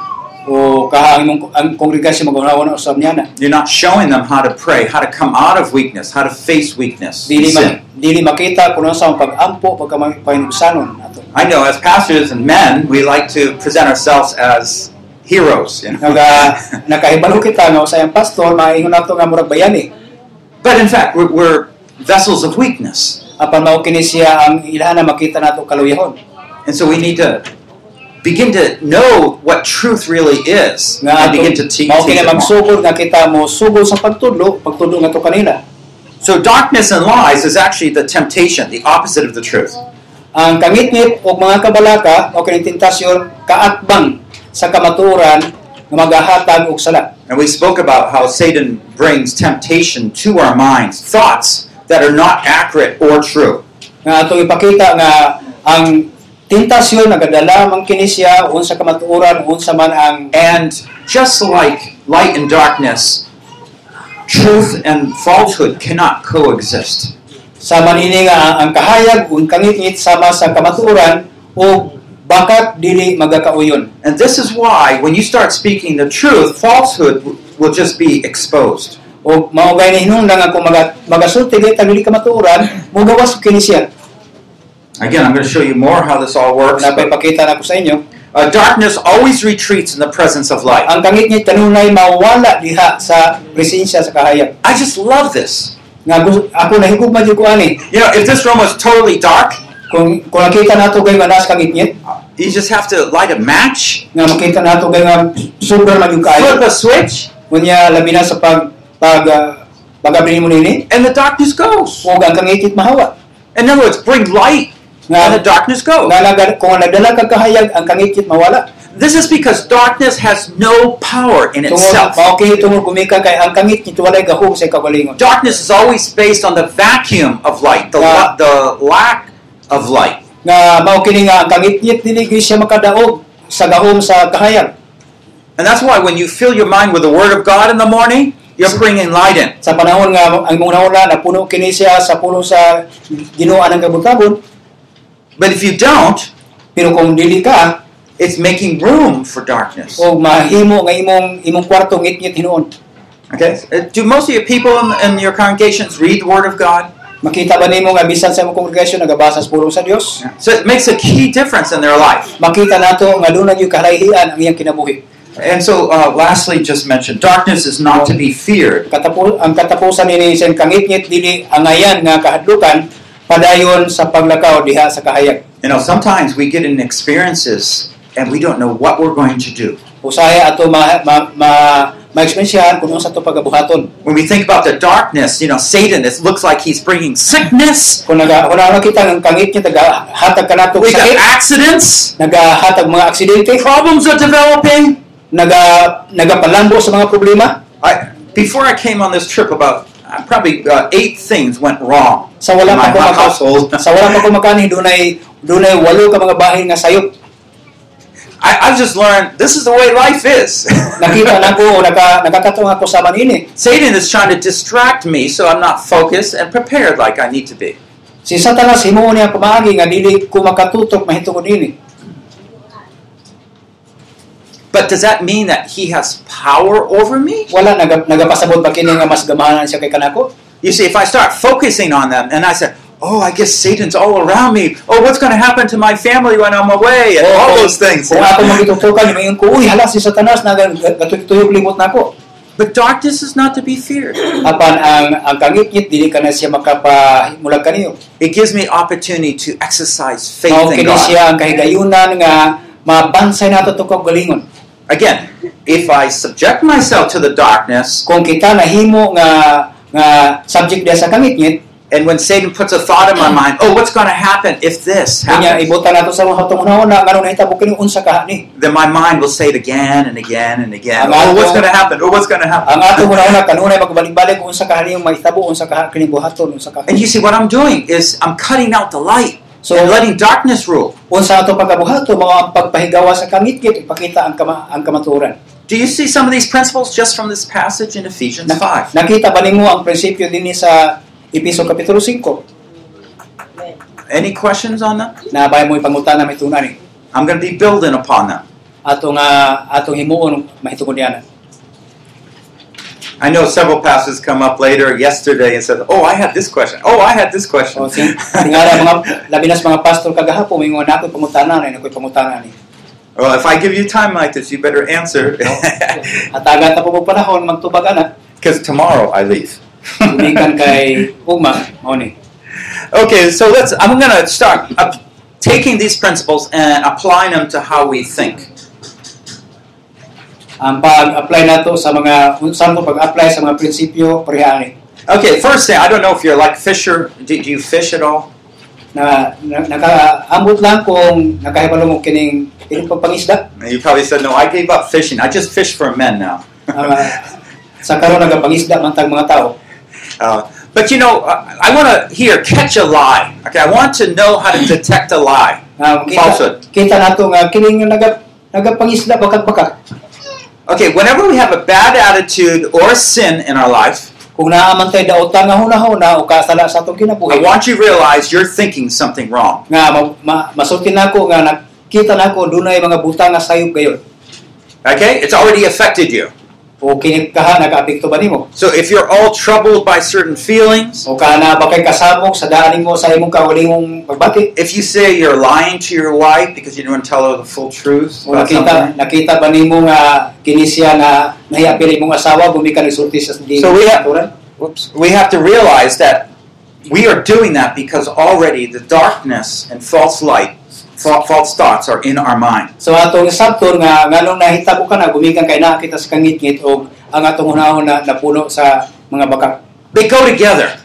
Speaker 2: o Oh, kaha ang imong- ang kongregasyon magunahon usab niya na.
Speaker 1: You're not showing them how to pray, how to come out of weakness, how to face weakness.
Speaker 2: dili
Speaker 1: sin.
Speaker 2: ma- dili makita kung unsa ang pag-ampo pagka may pahinugsanon ato.
Speaker 1: I know as pastors and men, we like to present ourselves as heroes, you know. uh,
Speaker 2: Naga nakahibalo kita nga usay ang pastor maingon nato nga murag bayani.
Speaker 1: But in fact, we're, we're vessels of weakness.
Speaker 2: Apan mao kini siya ang ilahan na makita nato kaluyahon
Speaker 1: And so we need to begin to know what truth really is
Speaker 2: nga
Speaker 1: and
Speaker 2: ato
Speaker 1: begin to teach
Speaker 2: mao
Speaker 1: it
Speaker 2: kini
Speaker 1: more.
Speaker 2: magsugod nga kita mo sugod sa pagtudlo, pagtudlo nga to kanila.
Speaker 1: So darkness and lies is actually the temptation, the opposite of the truth.
Speaker 2: Ang kangitngit og mga kabalaka mao kini tentasyon kaatbang sa kamatuoran nga magahatag og sala.
Speaker 1: And we spoke about how Satan brings temptation to our minds, thoughts that are not accurate or true.
Speaker 2: nga atong ipakita nga ang tentasyon nagadala man kini siya unsa kamatuoran unsa man ang
Speaker 1: And just like light and darkness, truth and falsehood cannot coexist.
Speaker 2: sama nini nga ang kahayag ug kangitngit sama sa kamatuoran o bakat dili magakauyon
Speaker 1: And this is why when you start speaking the truth, falsehood w- will just be exposed.
Speaker 2: o mao gay ni hinungdan nga kung maga, magasulti kay dili kamatuoran mugawas kini siya
Speaker 1: Again, I'm going to show you more how this all works.
Speaker 2: napay pakita nako sa inyo
Speaker 1: Uh, darkness always retreats in the presence of light.
Speaker 2: ang kangitngit kanunay mawala diha sa presensya sa kahayag
Speaker 1: I just love this.
Speaker 2: nga gus- ako nahigugma jud ko ani
Speaker 1: You know, if this room was totally dark,
Speaker 2: kung kung nakita nato kay manas kangitngit
Speaker 1: you just have to light a match,
Speaker 2: nga makita nato kay nga super man yung kaayo
Speaker 1: flip a switch,
Speaker 2: Kunya labi na sa pag pag uh, pagabri mo nini
Speaker 1: and the darkness goes.
Speaker 2: o ang kangitit mahawa.
Speaker 1: In other words, bring light, and the
Speaker 2: Nga
Speaker 1: darkness goes.
Speaker 2: nga naga- kung nagdala kag kahayag ang kangitit mawala.
Speaker 1: This is because darkness has no power in
Speaker 2: Tungod
Speaker 1: itself.
Speaker 2: mao kini tungod gumikan kay ang kangit nito walay gahog sa kagalingon.
Speaker 1: Darkness is always based on the vacuum of light, the,
Speaker 2: Yeah.
Speaker 1: la- the lack of light.
Speaker 2: Nga mao kini nga ang kangit nit dili gyud siya makadaog sa gahom sa kahayag.
Speaker 1: And that's why when you fill your mind with the Word of God in the morning, you're bringing light in.
Speaker 2: Sa panahon nga ang mga nauna na puno kini siya sa puno sa Ginoo ng kabukabon,
Speaker 1: But if you don't,
Speaker 2: pero kung dili ka
Speaker 1: it's making room for darkness.
Speaker 2: o mahimo nga imong imong kwarto ngit-ngit hinuon.
Speaker 1: Okay? Uh, Do most of your people in, in your congregations read the Word of God?
Speaker 2: Makita ba nimo nga bisan sa imong congregation nagabasa sa pulong sa Dios?
Speaker 1: So it makes a key difference in their life.
Speaker 2: Makita nato nga dunay gyud kalahian ang iyang kinabuhi.
Speaker 1: And so, uh, lastly, just mention darkness is not to be feared.
Speaker 2: Katapos ang katapusan nini sa kangit-ngit dili angayan nga kahadlukan padayon sa paglakaw diha sa kahayag.
Speaker 1: You know, sometimes we get in experiences and we don't know what we're going to do.
Speaker 2: Usahay ato ma ma, ma ma-experiencehan kung unsa to pagabuhaton.
Speaker 1: When we think about the darkness, you know, Satan, it looks like he's bringing sickness.
Speaker 2: Kung naga kung naga kita ang kangit niya nagahatag kanato
Speaker 1: We got
Speaker 2: sakit,
Speaker 1: accidents.
Speaker 2: nagahatag mga aksidente,
Speaker 1: Problems are developing.
Speaker 2: naga nagapalambo sa mga problema.
Speaker 1: I, before I came on this trip, about uh, probably uh, eight things went wrong. in
Speaker 2: Sa wala
Speaker 1: my
Speaker 2: pa ko maka-
Speaker 1: household.
Speaker 2: sa wala pa ko makani dunay dunay walo ka mga bahin nga sayop.
Speaker 1: I, I've just learned this is the way life is.
Speaker 2: Nakita nako o naka nakakatong ako sa manini.
Speaker 1: Satan is trying to distract me so I'm not focused and prepared like I need to be.
Speaker 2: Si Satanas himuon niya pamaagi nga dili ko makatutok mahitungod ini.
Speaker 1: But does that mean that he has power over me?
Speaker 2: Wala naga, nagapasabot ba kini nga mas gamahanan siya kay kanako?
Speaker 1: You see, if I start focusing on them and I say, Oh, I guess Satan's all around me. Oh, what's going to happen to my family when I'm away? And all those things.
Speaker 2: Kung ako magitutukan mayon ko uy hala si Satanas naga gatuyok limot nako.
Speaker 1: But darkness is not to be feared.
Speaker 2: Apan ang ang kangit-ngit dili ka na siya makapahimulag kaniyo.
Speaker 1: It gives me opportunity to exercise faith
Speaker 2: Mao
Speaker 1: in
Speaker 2: kini
Speaker 1: God.
Speaker 2: siya ang kahigayunan nga mabansay nato to kag galingon.
Speaker 1: Again, if I subject myself to the darkness,
Speaker 2: kung kita nahimo nga nga subject dia sa kangitngit
Speaker 1: and when Satan puts a thought in my mind, oh, what's going to happen if this
Speaker 2: kanya
Speaker 1: happens?
Speaker 2: ibutan nato sa mga hatungon na nganong nahitabo kini unsa ka ni
Speaker 1: Then my mind will say it again and again and again.
Speaker 2: Ang
Speaker 1: Oh,
Speaker 2: ato-
Speaker 1: what's going to happen? Oh, what's going to happen?
Speaker 2: ang ato muna una kanunay magbalik-balik kung unsa ka ni mahitabo unsa ka kini buhaton unsa ka
Speaker 1: And you see, what I'm doing is I'm cutting out the light
Speaker 2: so
Speaker 1: and letting darkness rule.
Speaker 2: unsa ato pagkabuhaton mao ang pagpahigawa sa kangitngit ipakita ang kama, ang kamatuoran
Speaker 1: Do you see some of these principles just from this passage in Ephesians 5?
Speaker 2: nakita ba nimo ang prinsipyo dinhi sa Episo Kapitulo 5
Speaker 1: Any questions on them?
Speaker 2: na bay mo ipangutana may tunan ni
Speaker 1: I'm going to be building upon them.
Speaker 2: ato nga atong himuon mahitungod diana
Speaker 1: I know several pastors come up later yesterday and said, "Oh, I had this question. Oh, I had this question."
Speaker 2: So, sing- singara mga labinas mga pastor kagahapon may mga nakoy pangutana ni nakoy pangutana ni.
Speaker 1: Well, if I give you time like this, you better answer,
Speaker 2: At agad na po mo panahon magtubag ana.
Speaker 1: because tomorrow I leave.
Speaker 2: Umikan kay Ugma mao ni.
Speaker 1: Okay, so let's. I'm gonna start up taking these principles and applying them to how we think.
Speaker 2: Ang pag-apply nato sa mga unsan ko pag-apply sa mga prinsipyo pareha ni.
Speaker 1: Okay, first thing, I don't know if you're like Fisher. Do, do you fish at all?
Speaker 2: Na, na nakaambot lang kung nakahibalo mo kining ilang pagpangisda.
Speaker 1: You probably said no. I gave up fishing. I just fish for men now.
Speaker 2: Ah, sa karon nagapangisda man tag mga tao.
Speaker 1: Uh, but you know, I, I want to here catch a lie. Okay, I want to know how to detect a lie.
Speaker 2: Na kita,
Speaker 1: Falsehood.
Speaker 2: kita nato nga kining naga nagapangisda bakat-bakat.
Speaker 1: Okay, whenever we have a bad attitude or sin in our life,
Speaker 2: Kung naamantay daotan nga hunahuna o kasala sa
Speaker 1: I
Speaker 2: atong kinabuhi.
Speaker 1: want you to realize you're thinking something wrong.
Speaker 2: nga Ah, ma, ma, ah, masulti na ako nga nakita na ako dunay mga buta nga sayop gayon
Speaker 1: Okay? It's already affected you.
Speaker 2: o Oh, kini kaha nakaapekto ba nimo
Speaker 1: So if you're all troubled by certain feelings,
Speaker 2: o kana ba kay kasabog sa daanin mo sa imong kawalingong pagbati
Speaker 1: if you say you're lying to your wife because you don't want to tell her the full truth,
Speaker 2: o
Speaker 1: about
Speaker 2: nakita
Speaker 1: something.
Speaker 2: nakita ba nimo nga ah, kini siya na nahiapil imong asawa gumikan og sulti sa di
Speaker 1: So we have-
Speaker 2: natural?
Speaker 1: Whoops. we have to realize that we are doing that because already the darkness and false light, fa- false thoughts are in our mind.
Speaker 2: so atong sabton nga nganong nahitabo ka na gumikan kay naa kita sa kangitngit og ang atong hunahon na napuno sa mga baka
Speaker 1: They go together.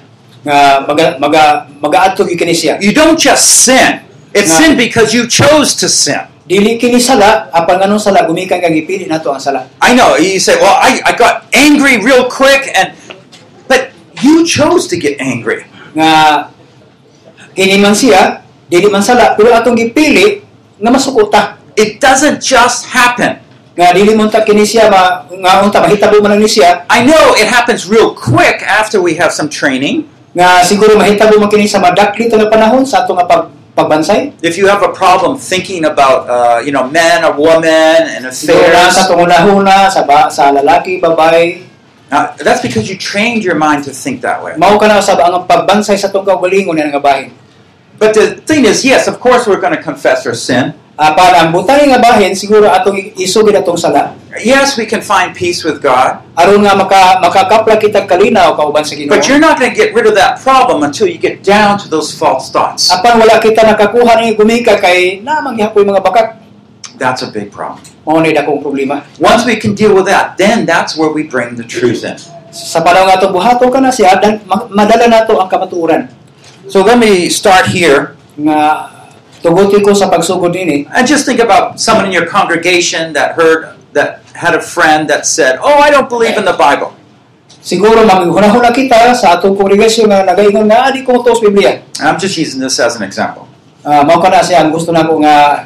Speaker 2: nga maga maga magaadto gyud kini siya
Speaker 1: You don't just sin. It's
Speaker 2: No.
Speaker 1: sin because you chose to sin.
Speaker 2: Dili kini sala, apan nganong sala gumikan kag ipili nato ang sala.
Speaker 1: I know. You say, well, I, I got angry real quick, and but you chose to get angry.
Speaker 2: Nga kini man siya, dili man sala, pero atong gipili nga masuko ta.
Speaker 1: It doesn't just happen.
Speaker 2: Nga dili man ta kini siya ma, nga unta mahitabo man lang ni siya,
Speaker 1: I know it happens real quick after we have some training.
Speaker 2: nga siguro mahitabo man kini sa madakli ta nga panahon sa ato nga pag, pagbansay.
Speaker 1: If you have a problem thinking about, uh, you know, men or women and
Speaker 2: Siguro na
Speaker 1: affairs,
Speaker 2: sa tunguna-huna sa ba, sa lalaki, babae,
Speaker 1: now, that's because you trained your mind to think that way.
Speaker 2: mao ka na sa ang pagbansay sa tong kaugalingon nga bahin.
Speaker 1: But the thing is, yes, of course we're going to confess our sin.
Speaker 2: Apan Ah, ang butang nga bahin siguro atong isugid atong sala.
Speaker 1: Yes, we can find peace with God,
Speaker 2: aron nga maka makakapla kita kalinaw kauban sa Ginoo.
Speaker 1: but you're not going to get rid of that problem until you get down to those false thoughts.
Speaker 2: Apan wala kita nakakuha ni gumika kay namang gihapoy mga bakak.
Speaker 1: That's a big problem.
Speaker 2: Mao ni dakong problema.
Speaker 1: Once we can deal with that, then that's where we bring the truth in.
Speaker 2: Sa palaw nga atong buhaton ka na siya dan ma- madala nato ang kamatuoran.
Speaker 1: So let me start here
Speaker 2: Nga tugutin ko sa pagsugod nini.
Speaker 1: and just think about someone in your congregation that heard that had a friend that said, "Oh, I don't believe in the Bible."
Speaker 2: Siguro maghunahon na kita sa atong kongregasyon nga nagaingon nga adi ko tos Biblia.
Speaker 1: I'm just using this as an example.
Speaker 2: Ah, mao ka na siya ang gusto nako nga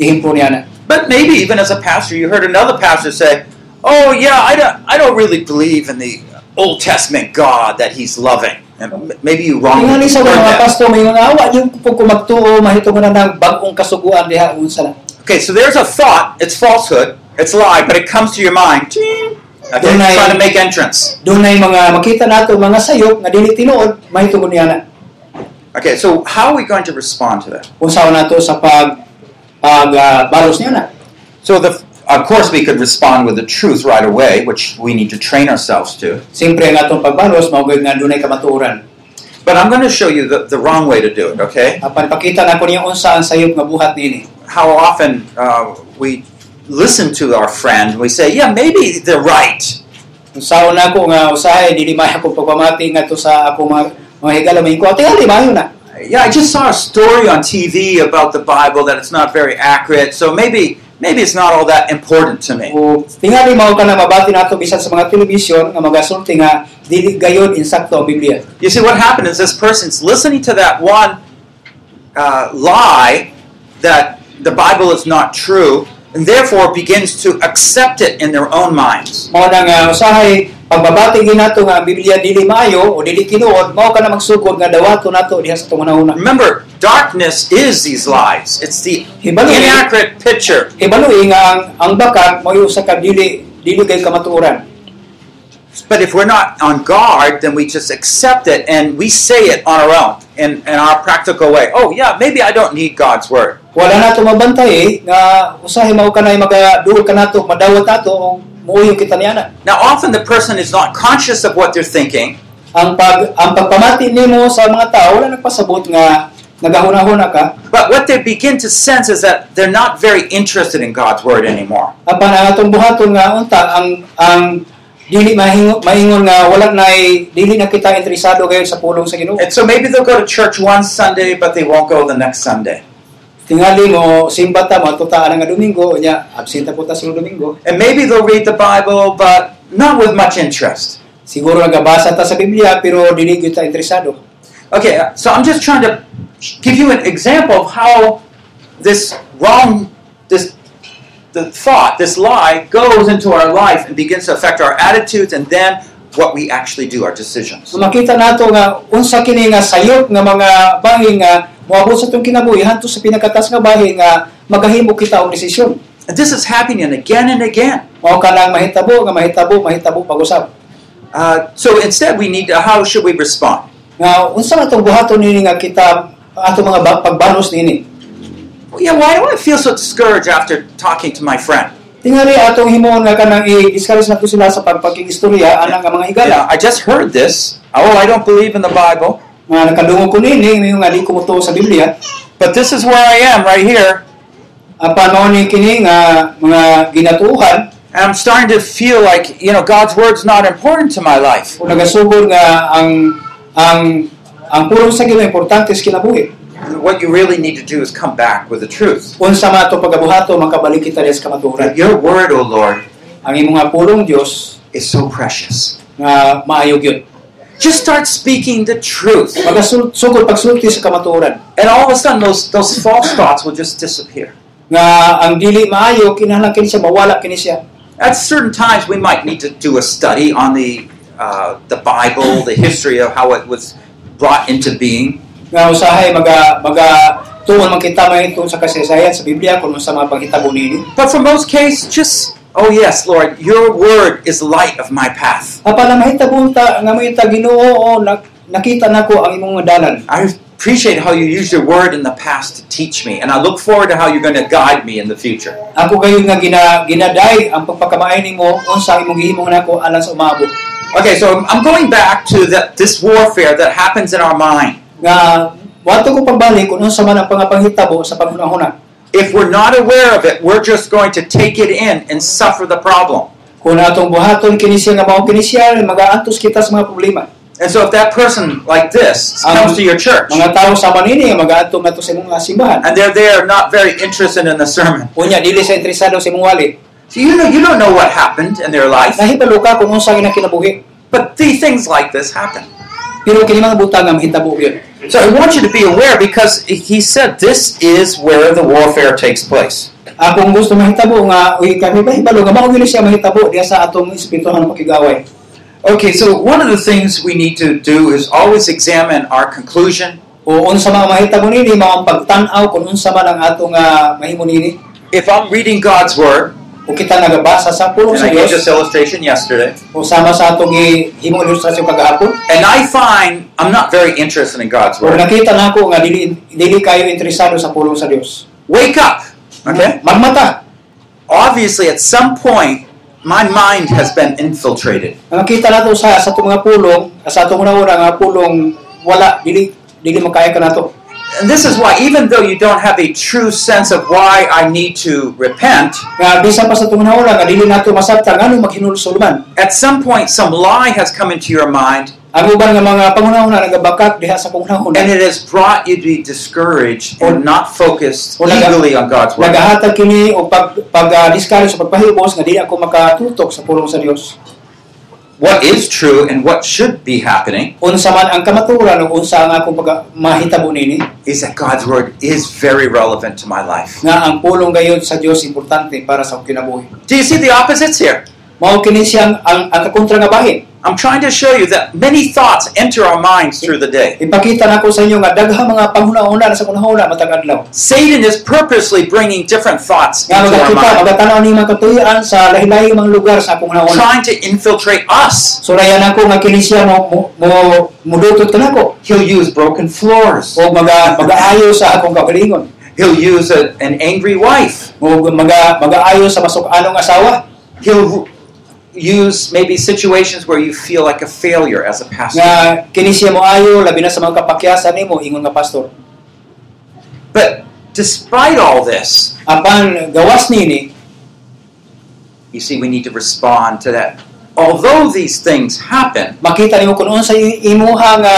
Speaker 2: ihimpro niya na.
Speaker 1: But maybe even as a pastor, you heard another pastor say, "Oh, yeah, I don't, I don't really believe in the Old Testament God that He's loving." And m- maybe you wrongly
Speaker 2: Tingali sa
Speaker 1: heard
Speaker 2: mga
Speaker 1: that.
Speaker 2: pasto may nga awa yung pag kumagtuo mahitungod na ng bag-ong kasuguan diha unsa na.
Speaker 1: Okay, so there's a thought. It's falsehood. It's a lie, but it comes to your mind. Ting! Okay,
Speaker 2: Then I-
Speaker 1: trying to make entrance.
Speaker 2: doon ay mga makita nato mga sayop nga dili tinuod mahitungod niya na
Speaker 1: Okay, so how are we going to respond to that?
Speaker 2: unsaon nato sa pag pag ah, balos niya na
Speaker 1: So, the, of course, we could respond with the truth right away, which we need to train ourselves to.
Speaker 2: simpre ang atong pagbalos mao gyud nga dunay kamatuoran
Speaker 1: But I'm going to show you the, the wrong way to do it, okay?
Speaker 2: apan pakita na ko niya unsa ang sayop nga buhat nini
Speaker 1: How often uh, we listen to our friend and we say, yeah, maybe they're right.
Speaker 2: unsaon nako nga usahay dili may ako pagpamati nga to sa ako mga mga higala may ko tingali mayo na
Speaker 1: Yeah, I just saw a story on TV about the Bible that it's not very accurate, so maybe maybe it's not all that important to me.
Speaker 2: o tingali mao ka na mabati nato bisan sa mga telebisyon nga magasulti nga dili gayon insakto ang Biblia
Speaker 1: You see, what happened is this person's listening to that one uh, lie that the Bible is not true, and therefore begins to accept it in their own minds.
Speaker 2: mao na nga usahay pagbabati gyud nato nga ang Biblia dili maayo o dili tinuod mao ka na magsugod nga dawato nato diha sa tungon una
Speaker 1: Remember, darkness is these lies. It's the
Speaker 2: hibalo
Speaker 1: inaccurate picture.
Speaker 2: hibalo nga ang ang bakat mao usa ka dili dili kay kamatuoran
Speaker 1: But if we're not on guard, then we just accept it and we say it on our own in, in our practical way. Oh, yeah, maybe I don't need God's word.
Speaker 2: wala nato mabantay eh, nga usahay mao ka na magaduol ka nato madawat nato o muuyo kita niana
Speaker 1: Now, often the person is not conscious of what they're thinking,
Speaker 2: ang pag ang pagpamati nimo sa mga tao wala nagpasabot nga nagahuna-huna ka
Speaker 1: But what they begin to sense is that they're not very interested in God's word anymore.
Speaker 2: apan ang atong buhaton nga unta ang ang dili mahingon, maingon nga wala nay dili na kita interesado kayo sa pulong sa Ginoo.
Speaker 1: And so maybe they'll go to church one Sunday, but they won't go the next Sunday.
Speaker 2: Tingali mo simba ta mo tutaan nga Domingo nya absent ta po ta sa Domingo.
Speaker 1: And maybe they'll read the Bible, but not with much interest.
Speaker 2: Siguro nagabasa ta sa Biblia pero dili gyud ta interesado.
Speaker 1: Okay, so I'm just trying to give you an example of how this wrong, this the thought, this lie goes into our life and begins to affect our attitudes and then what we actually do, our decisions.
Speaker 2: So makita nato nga unsa kini nga sayop nga mga bahin nga moabot sa tong kinabuhi hanto sa pinakatas nga bahin nga magahimo kita og desisyon.
Speaker 1: And this is happening again and again.
Speaker 2: Mao ka lang mahitabo nga mahitabo mahitabo pag-usab.
Speaker 1: Uh, so instead, we need to, how should we respond?
Speaker 2: Nga unsa man tong buhaton nini nga kita ato mga ba- pagbalos nini?
Speaker 1: Well, yeah, why do I feel so discouraged after talking to my friend?
Speaker 2: Tingali atong himuon nga kanang i-discourage nato sila sa pagpakikistorya anang nga mga
Speaker 1: You
Speaker 2: higala
Speaker 1: know, uh, I just heard this. Oh, I don't believe in the Bible,
Speaker 2: nga nakadungog ko nini ngayon nga di kumutuo sa Biblia
Speaker 1: but this is where I am right here,
Speaker 2: apan mao ni kini nga mga ginatuhan
Speaker 1: and I'm starting to feel like you know God's word's not important to my life.
Speaker 2: o nagasugod nga ang ang ang pulong sa Ginoo importante sa kinabuhi
Speaker 1: what you really need to do is come back with the truth.
Speaker 2: Unsa man ato pagabuhato makabalik kita res kamatuoran.
Speaker 1: But your word, O Lord,
Speaker 2: Ang imong apulong Dios
Speaker 1: is so precious.
Speaker 2: nga maayo gyud.
Speaker 1: Just start speaking the truth.
Speaker 2: Magasugod pagsulti sa kamatuoran
Speaker 1: And all of a sudden, those, those false thoughts will just disappear.
Speaker 2: nga ang dili maayo kinahanglan kini siya mawala kini siya.
Speaker 1: At certain times, we might need to do a study on the, uh, the Bible, the history of how it was brought into being.
Speaker 2: Nga usahay maga maga tuon man kita may tuon sa kasaysayan sa Biblia kung unsa mga panghitabo nini.
Speaker 1: But for most cases, just, oh yes, Lord, your word is light of my path.
Speaker 2: Apan na mahitabo ta nga mahita Ginoo o nak- nakita nako ang imong dalan.
Speaker 1: I appreciate how you used your word in the past to teach me, and I look forward to how you're going to guide me in the future.
Speaker 2: Ako kayo nga gina, ginaday ang pagpakamay nimo unsa imong gihimong nako alang sa umabot.
Speaker 1: Okay, so I'm going back to that this warfare that happens in our mind.
Speaker 2: Nga wato ko pagbalik kung unsa man ang pangapangitabo sa paghunahuna.
Speaker 1: If we're not aware of it, we're just going to take it in and suffer the problem.
Speaker 2: Kung atong buhaton kini siya nga mao kini siya magaantos kita sa mga problema.
Speaker 1: And so if that person like this
Speaker 2: Um,
Speaker 1: comes to your church
Speaker 2: Mga tao sa manini nga magaantos nato sa imong simbahan.
Speaker 1: and they're there not very interested in the sermon.
Speaker 2: Unya dili sa interesado sa imong wali.
Speaker 1: So you know you don't know what happened in their life.
Speaker 2: Nahibalo ka kung unsa nga kinabuhi.
Speaker 1: But these things like this happen.
Speaker 2: Pero kini mga butang nga mahitabo yun.
Speaker 1: So I want you to be aware because he said this is where the warfare takes place.
Speaker 2: Akong gusto mahitabo nga uy kami mahibalo nga mao gini siya mahitabo diya sa atong espirituhan pakigaway.
Speaker 1: Okay, so one of the things we need to do is always examine our conclusion.
Speaker 2: O unsa mga mahitabo nini mao ang pagtan-aw kung unsa man ang atong nga mahimo nini.
Speaker 1: If I'm reading God's word,
Speaker 2: O kita nagabasa sa pulong
Speaker 1: and
Speaker 2: sa
Speaker 1: I gave this
Speaker 2: Dios
Speaker 1: illustration yesterday,
Speaker 2: o sama sa atong himong ilustrasyon kagahapon.
Speaker 1: and I find I'm not very interested in God's
Speaker 2: O
Speaker 1: word,
Speaker 2: nakita nako nga dili dili kayo interesado sa pulong sa Dios.
Speaker 1: wake up. Okay?
Speaker 2: Magmata.
Speaker 1: Obviously, at some point, my mind has been infiltrated.
Speaker 2: Ang nakita nato sa sa atong mga pulong, sa atong una-una nga pulong wala dili dili makaya ka nato.
Speaker 1: And this is why, even though you don't have a true sense of why I need to repent,
Speaker 2: Nga bisan pa sa atong una-una nga dili nato masabtan nganu maghinulsuluman.
Speaker 1: at some point, some lie has come into your mind,
Speaker 2: Ang uban nga mga pangunahuna nagabakak diha sa pangunahuna.
Speaker 1: and it has brought you to be discouraged and not focused
Speaker 2: Or naga-
Speaker 1: legally on God's word.
Speaker 2: Nagahatag kini o pag pag ah, discourage sa pagpahibos nga dili ako makatutok sa pulong sa Dios.
Speaker 1: what is true and what should be happening
Speaker 2: Unsa man ang kamaturan o unsa ang akong pag mahitabo nini
Speaker 1: is that God's word is very relevant to my life.
Speaker 2: nga ang pulong gayon sa Dios importante para sa akong kinabuhi.
Speaker 1: Do you see the opposites here?
Speaker 2: Mao kini siyang ang ang kontra nga bahin.
Speaker 1: I'm trying to show you that many thoughts enter our minds through the day.
Speaker 2: Ipakita nako sa inyo nga daghang mga panghuna-huna sa panahuna matag adlaw.
Speaker 1: Satan is purposely bringing different thoughts into
Speaker 2: Nga
Speaker 1: our
Speaker 2: magakita
Speaker 1: mind,
Speaker 2: magatanaw ni mga katuyaan sa lahi-lahi mga lugar sa panghuna-huna.
Speaker 1: trying to infiltrate us.
Speaker 2: So rayan ako nga kini siya mo mo, mo mudutot ka nako
Speaker 1: He'll use broken floors.
Speaker 2: o maga magaayo sa akong kapalingon.
Speaker 1: He'll use a, an angry wife.
Speaker 2: O maga magaayo sa masok anong asawa
Speaker 1: He'll use maybe situations where you feel like a failure as a pastor.
Speaker 2: nga kini siya mo ayo labi na sa mga kapakyasan nimo ingon nga pastor.
Speaker 1: But despite all this,
Speaker 2: Apan gawas nini
Speaker 1: you see, we need to respond to that. Although these things happen,
Speaker 2: makita nimo kung unsa yung imuha nga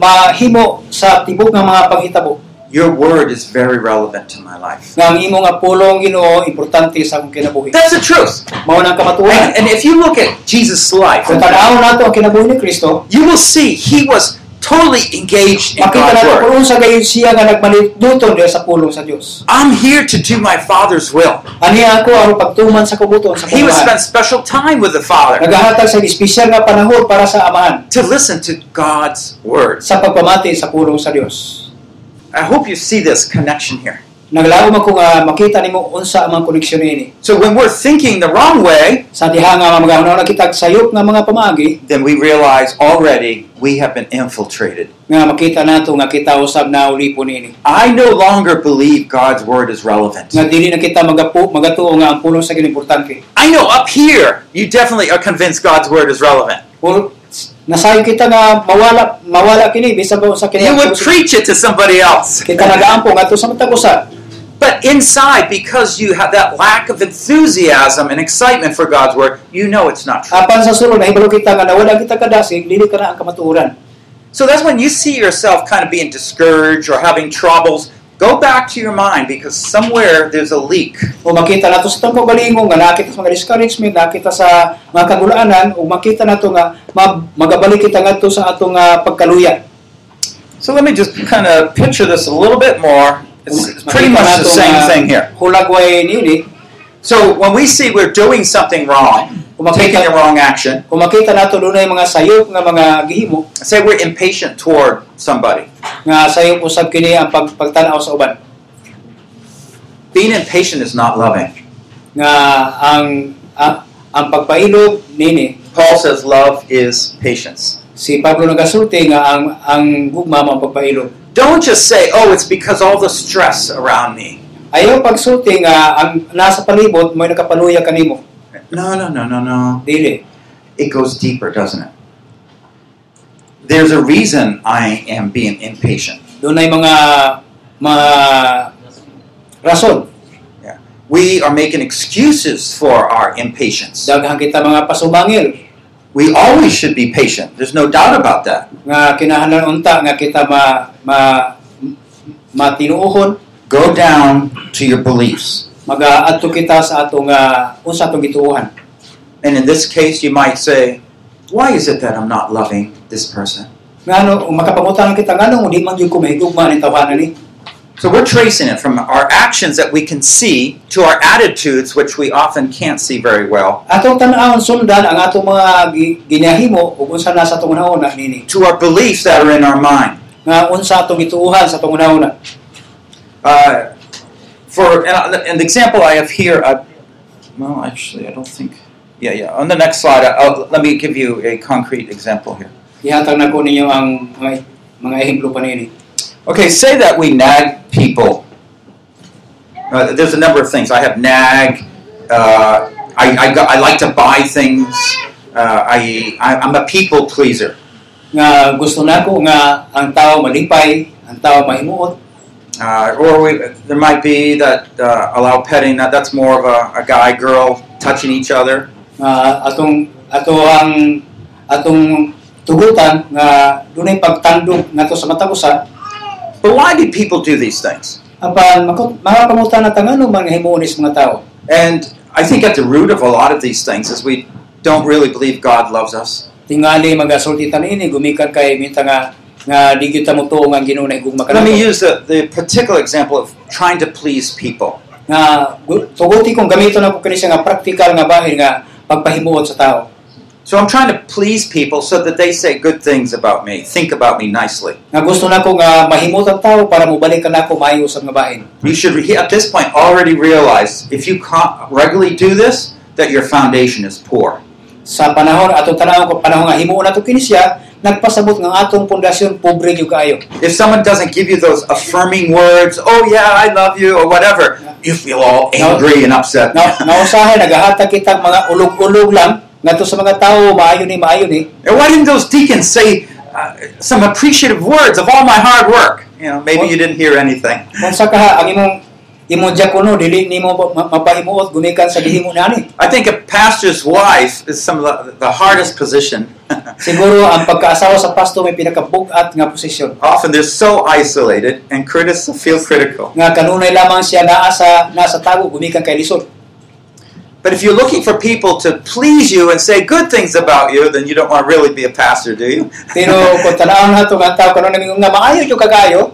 Speaker 2: mahimo sa tibok nga mga panghitabo
Speaker 1: your word is very relevant to my life.
Speaker 2: nga ang imo nga pulong Ginoo importante sa akong kinabuhi
Speaker 1: That's the truth.
Speaker 2: mao na ang kamatuoran
Speaker 1: And, and if you look at Jesus' life,
Speaker 2: kung tanaw nato ang kinabuhi ni Kristo
Speaker 1: you will see he was totally engaged in
Speaker 2: makita
Speaker 1: God's
Speaker 2: nato
Speaker 1: word.
Speaker 2: kung unsa gayon siya nga nagmanuduton diha sa pulong sa Dios
Speaker 1: I'm here to do my Father's will.
Speaker 2: ani ako aron pagtuman sa kabuton sa
Speaker 1: He would spend
Speaker 2: Panginoon
Speaker 1: special time with the Father
Speaker 2: nagahatag sa espesyal nga panahon para sa amahan
Speaker 1: to listen to God's words.
Speaker 2: sa pagpamati sa pulong sa Dios
Speaker 1: I hope you see this connection here.
Speaker 2: naglaom ako nga makita nimo unsa ang mga koneksyon ini
Speaker 1: So when we're thinking the wrong way,
Speaker 2: sa diha nga mga na kitag sayop nga mga pamaagi
Speaker 1: then we realize already we have been infiltrated.
Speaker 2: nga makita nato nga kita usab na ulipon ini
Speaker 1: I no longer believe God's word is relevant.
Speaker 2: nga dili na kita magapu magatuo nga ang pulong sa importante
Speaker 1: I know up here you definitely are convinced God's word is relevant.
Speaker 2: or nasayo kita nga mawala mawala kini bisan ba sa kini
Speaker 1: You would preach it to somebody else.
Speaker 2: kita nagaampo nga to sa matag usa
Speaker 1: But inside, because you have that lack of enthusiasm and excitement for God's word, you know it's not true.
Speaker 2: apan sa sulod nahibalo kita nga nawala kita kadasig dili ka na ang kamatuoran
Speaker 1: So that's when you see yourself kind of being discouraged or having troubles. Go back to your mind because somewhere there's a leak.
Speaker 2: O makita nato sa itong kabalingong nga nakita sa mga discouragement, nakita sa mga kagulaanan, o makita nato nga ma- magabalik kita nga to sa atong ah, pagkaluya.
Speaker 1: So let me just kind of picture this a little bit more. It's, it's pretty much the same thing here.
Speaker 2: Hulagway niini,
Speaker 1: So when we see we're doing something wrong,
Speaker 2: kung
Speaker 1: taking the
Speaker 2: makita,
Speaker 1: wrong action,
Speaker 2: kung makita nato dunay mga sayop nga mga gihimo,
Speaker 1: say we're impatient toward somebody.
Speaker 2: nga sayop usab kini ang pag, pagtanaw sa uban.
Speaker 1: Being impatient is not loving.
Speaker 2: Nga ang ah, ang pagpailog nini,
Speaker 1: Paul says love is patience.
Speaker 2: si Pablo nagasulti nga ang ang gugma mo ang pagpailog.
Speaker 1: Don't just say, "Oh, it's because all the stress around me."
Speaker 2: Ayaw pagsulti nga ang nasa palibot may nakapaluya kanimo.
Speaker 1: No, no, no, no, no.
Speaker 2: Dili.
Speaker 1: it goes deeper, doesn't it? There's a reason I am being impatient.
Speaker 2: Doon ay mga mga rason.
Speaker 1: We are making excuses for our impatience.
Speaker 2: Daghan kita mga pasubangil
Speaker 1: We always should be patient. There's no doubt about that.
Speaker 2: nga kinahanglan unta nga kita ma ma matinuohon
Speaker 1: Go down to your beliefs.
Speaker 2: mag-aadto kita sa atong ah, usa atong gituohan.
Speaker 1: And in this case, you might say, Why is it that I'm not loving this person?
Speaker 2: Ngano ano, kung makapangutan kita ngano udi man gyud ko mahigugma ni tawanan ni.
Speaker 1: So we're tracing it from our actions that we can see to our attitudes, which we often can't see very well,
Speaker 2: Atong tan-awon sundan ang atong mga gi- ginahimo ug unsa na sa atong una nini.
Speaker 1: to our beliefs that are in our mind.
Speaker 2: Nga unsa atong gituohan sa atong una.
Speaker 1: Uh, for and, uh, and the example I have here, I, well, actually, I don't think. Yeah, yeah. On the next slide, I, I'll, let me give you a concrete example here.
Speaker 2: Ihatag na ko ninyo ang mga mga ehemplo pa nini.
Speaker 1: Okay, say that we nag people. Uh, there's a number of things. I have nag. Uh, I, I, got, I like to buy things. Uh, I, I, I'm a people pleaser.
Speaker 2: nga gusto nako nga ang tao malipay, ang tao mahimuot,
Speaker 1: Uh, or we, there might be that uh, allow petting. That, that's more of a, a guy girl touching each other.
Speaker 2: nga atong ato ang atong tugutan nga dunay pagtandog nato sa matag usa
Speaker 1: But why do people do these things?
Speaker 2: apan mako- mga pamutan na tangano man nga himuonis mga tao
Speaker 1: And I think at the root of a lot of these things is we don't really believe God loves us.
Speaker 2: tingali magasultitan ini gumikan kay minta nga nga di kita mo tuong ang Ginoo na higugma
Speaker 1: Let me
Speaker 2: kanato
Speaker 1: use the, the particular example of trying to please people.
Speaker 2: nga gu- tuguti kong gamiton ako kini siya nga praktikal nga bahin nga pagpahimuot sa tao
Speaker 1: So I'm trying to please people so that they say good things about me, think about me nicely.
Speaker 2: nga gusto nako nga mahimuot ang tao para mobalik nako maayo sa nga bahin
Speaker 1: You should, re- at this point, already realize if you can't regularly do this, that your foundation is poor.
Speaker 2: sa panahon atong tanaw ko panahon nga himuon nato kini siya nagpasabot nga atong pundasyon pobre gyud kaayo
Speaker 1: If someone doesn't give you those affirming words, oh yeah, I love you, or whatever, you feel all angry and upset.
Speaker 2: na nausahay nagahatag kita mga ulog-ulog lang ngadto sa mga tao maayo ni maayo ni
Speaker 1: And why didn't those deacons say uh, some appreciative words of all my hard work? You know, maybe you didn't hear anything.
Speaker 2: unsa kaha ang imong imong diakono dili nimo ma- mapahimuot gumikan sa gihimo nani
Speaker 1: I think a pastor's wife is some of the, the hardest position.
Speaker 2: siguro ang pagkaasawa sa pasto may pinakabugat nga posisyon
Speaker 1: Often they're so isolated and critics feel critical.
Speaker 2: nga kanunay lamang siya naa sa nasa tago gumikan kay lisod
Speaker 1: But if you're looking for people to please you and say good things about you, then you don't want to really be a pastor, do you?
Speaker 2: pero kung tanaw nato nga ang tao kanunay nga maayo gyud kagayo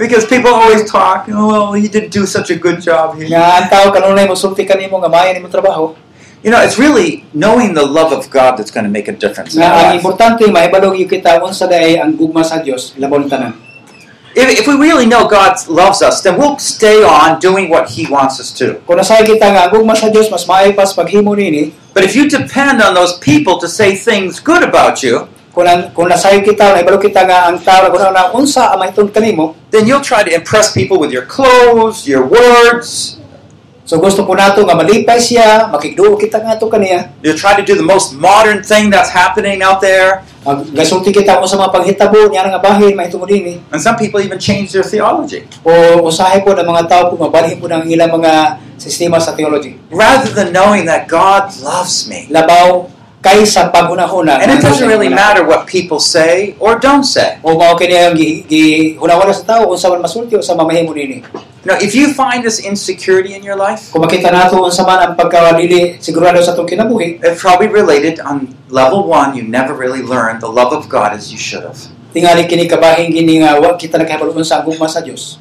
Speaker 1: because people always talk, oh, you did do such a good job here.
Speaker 2: nga ang tao kanunay mosulti kanimo nga maayo nimo trabaho
Speaker 1: You know, it's really knowing the love of God that's going to make a difference. in
Speaker 2: Nga
Speaker 1: our
Speaker 2: ang
Speaker 1: lives.
Speaker 2: importante mahibalog yung kita unsa day ang gugma sa Dios labon tanan.
Speaker 1: If, if we really know God loves us, then we'll stay on doing what He wants us to.
Speaker 2: Kung nasay kita nga ang gugma sa Dios mas maay pas paghimo nini,
Speaker 1: But if you depend on those people to say things good about you,
Speaker 2: kung ang, kung nasay kita mahibalog kita nga ang tao kung na unsa ang mahitungod kanimo,
Speaker 1: then you'll try to impress people with your clothes, your words.
Speaker 2: so gusto po nato nga malipay siya, makigduo kita nga ato kaniya.
Speaker 1: You'll try to do the most modern thing that's happening out there.
Speaker 2: Ang gasulti kita unsa mga panghitabo niya nga bahin mahitungod nini.
Speaker 1: And some people even change their theology.
Speaker 2: O usahay po ng mga tao po mabalhin po ng ilang mga sistema sa theology.
Speaker 1: Rather than knowing that God loves me,
Speaker 2: Labaw kaysa paghunahuna.
Speaker 1: And it doesn't really matter what people say or don't say.
Speaker 2: O mao kini ang gi- gihunahuna sa tao unsa man masulti unsa man mahimo nini.
Speaker 1: No, if you find this insecurity in your life,
Speaker 2: Kung makita nato unsa man ang pagkadili sigurado sa atong kinabuhi,
Speaker 1: it's probably related on level one, you never really learned the love of God as you should have.
Speaker 2: tingali kini kabahing gini nga wa kita nakahibalo unsa ang gugma sa Dios.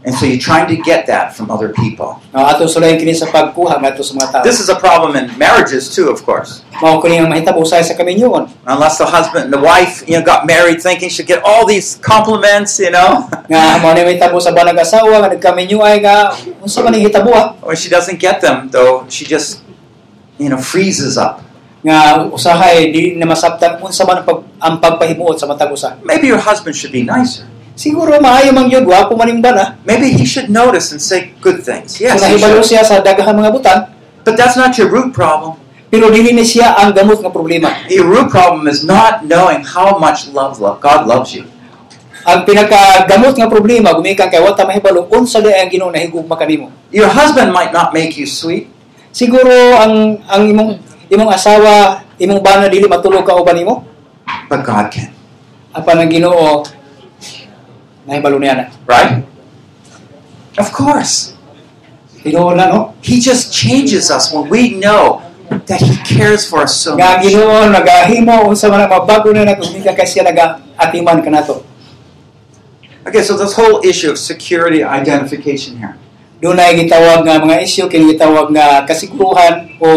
Speaker 1: And so you're trying to get that from other people.
Speaker 2: Nga atong sulayan kini sa pagkuha ngadto sa mga tao.
Speaker 1: This is a problem in marriages too, of course.
Speaker 2: mao kini ang mahitabo usay sa kaminyoon.
Speaker 1: Unless the husband and the wife, you know, got married thinking she'd get all these compliments, you know,
Speaker 2: Nga mao ni mahitabo sa banag asawa nga nagkaminyoay nga unsa man ang hitabo ah.
Speaker 1: when she doesn't get them, though, she just, you know, freezes up.
Speaker 2: nga usahay di na masabtan unsa man ang, pag, ang pagpahimuot sa matag usa.
Speaker 1: Maybe your husband should be nicer.
Speaker 2: Siguro maayo man gyud wa manimba na.
Speaker 1: Maybe he should notice and say good things. Yes, he
Speaker 2: Kung nahibalo
Speaker 1: should.
Speaker 2: siya sa daghang mga butang,
Speaker 1: but that's not your root problem.
Speaker 2: pero dili ni siya ang gamot nga problema.
Speaker 1: Your root problem is not knowing how much love, love God loves you.
Speaker 2: Ang pinakagamot nga problema gumikan kay wa ta mahibalo unsa day ang Ginoo nahigugma kanimo.
Speaker 1: Your husband might not make you sweet.
Speaker 2: Siguro ang ang imong imong asawa, imong bana dili matulog ka uban nimo,
Speaker 1: But God can,
Speaker 2: apan ang Ginoo nahibalo niya na.
Speaker 1: right? Of course.
Speaker 2: Ginoo na no.
Speaker 1: He just changes us when we know that He cares for us so
Speaker 2: Nga ang
Speaker 1: much.
Speaker 2: Ginoo nagahimo unsa man ang mabago na nagumikan kay siya nagaatiman kanato.
Speaker 1: Okay, so this whole issue of security identification here.
Speaker 2: dunay gitawag nga mga isyu kini gitawag nga kasiguruhan o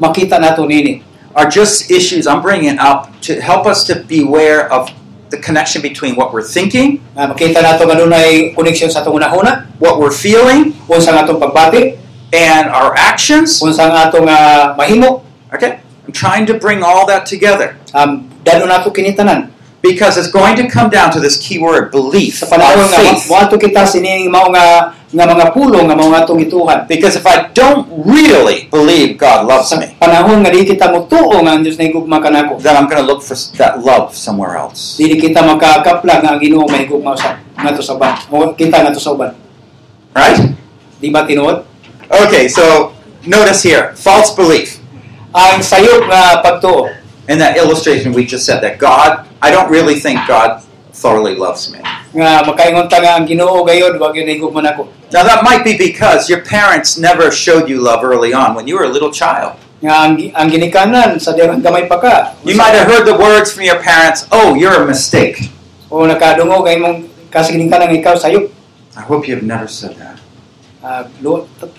Speaker 2: makita nato nini
Speaker 1: Are just issues I'm bringing up to help us to beware of the connection between what we're thinking,
Speaker 2: nga makita nato nga dunay koneksyon sa atong unahuna
Speaker 1: what we're feeling,
Speaker 2: unsa nga atong pagbati
Speaker 1: and our actions.
Speaker 2: unsa nga atong nga mahimo
Speaker 1: Okay? I'm trying to bring all that together
Speaker 2: um, dano nato kini tanan
Speaker 1: because it's going to come down to this key word belief,
Speaker 2: sa
Speaker 1: our
Speaker 2: panahon nga
Speaker 1: faith.
Speaker 2: wa moadto kita sining mao nga nga mga pulo nga mao nga atong gituhan
Speaker 1: Because if I don't really believe God loves
Speaker 2: sa
Speaker 1: me,
Speaker 2: panahon nga di kita motuo nga ang Dios nahigugma kanako
Speaker 1: then I'm going to look for that love somewhere else.
Speaker 2: dili kita makakapla nga ang Ginoo mahigugma sa nato sa uban o kita nato sa uban
Speaker 1: Right?
Speaker 2: di ba tinuod
Speaker 1: Okay, so notice here false belief. uh,
Speaker 2: ang sayop nga Ah, pagtuo
Speaker 1: In that illustration, we just said that God, I don't really think God thoroughly loves me.
Speaker 2: nga makaingon ta nga ang Ginoo gayon wag yun higugma nako
Speaker 1: Now, that might be because your parents never showed you love early on when you were a little child.
Speaker 2: nga ang, gi- ang ginikanan sa dayang gamay pa ka
Speaker 1: You might have heard the words from your parents, oh, you're a mistake.
Speaker 2: o nakadungo kay mong kasinikanan nga ikaw sayop
Speaker 1: I hope you've never said that.
Speaker 2: uh,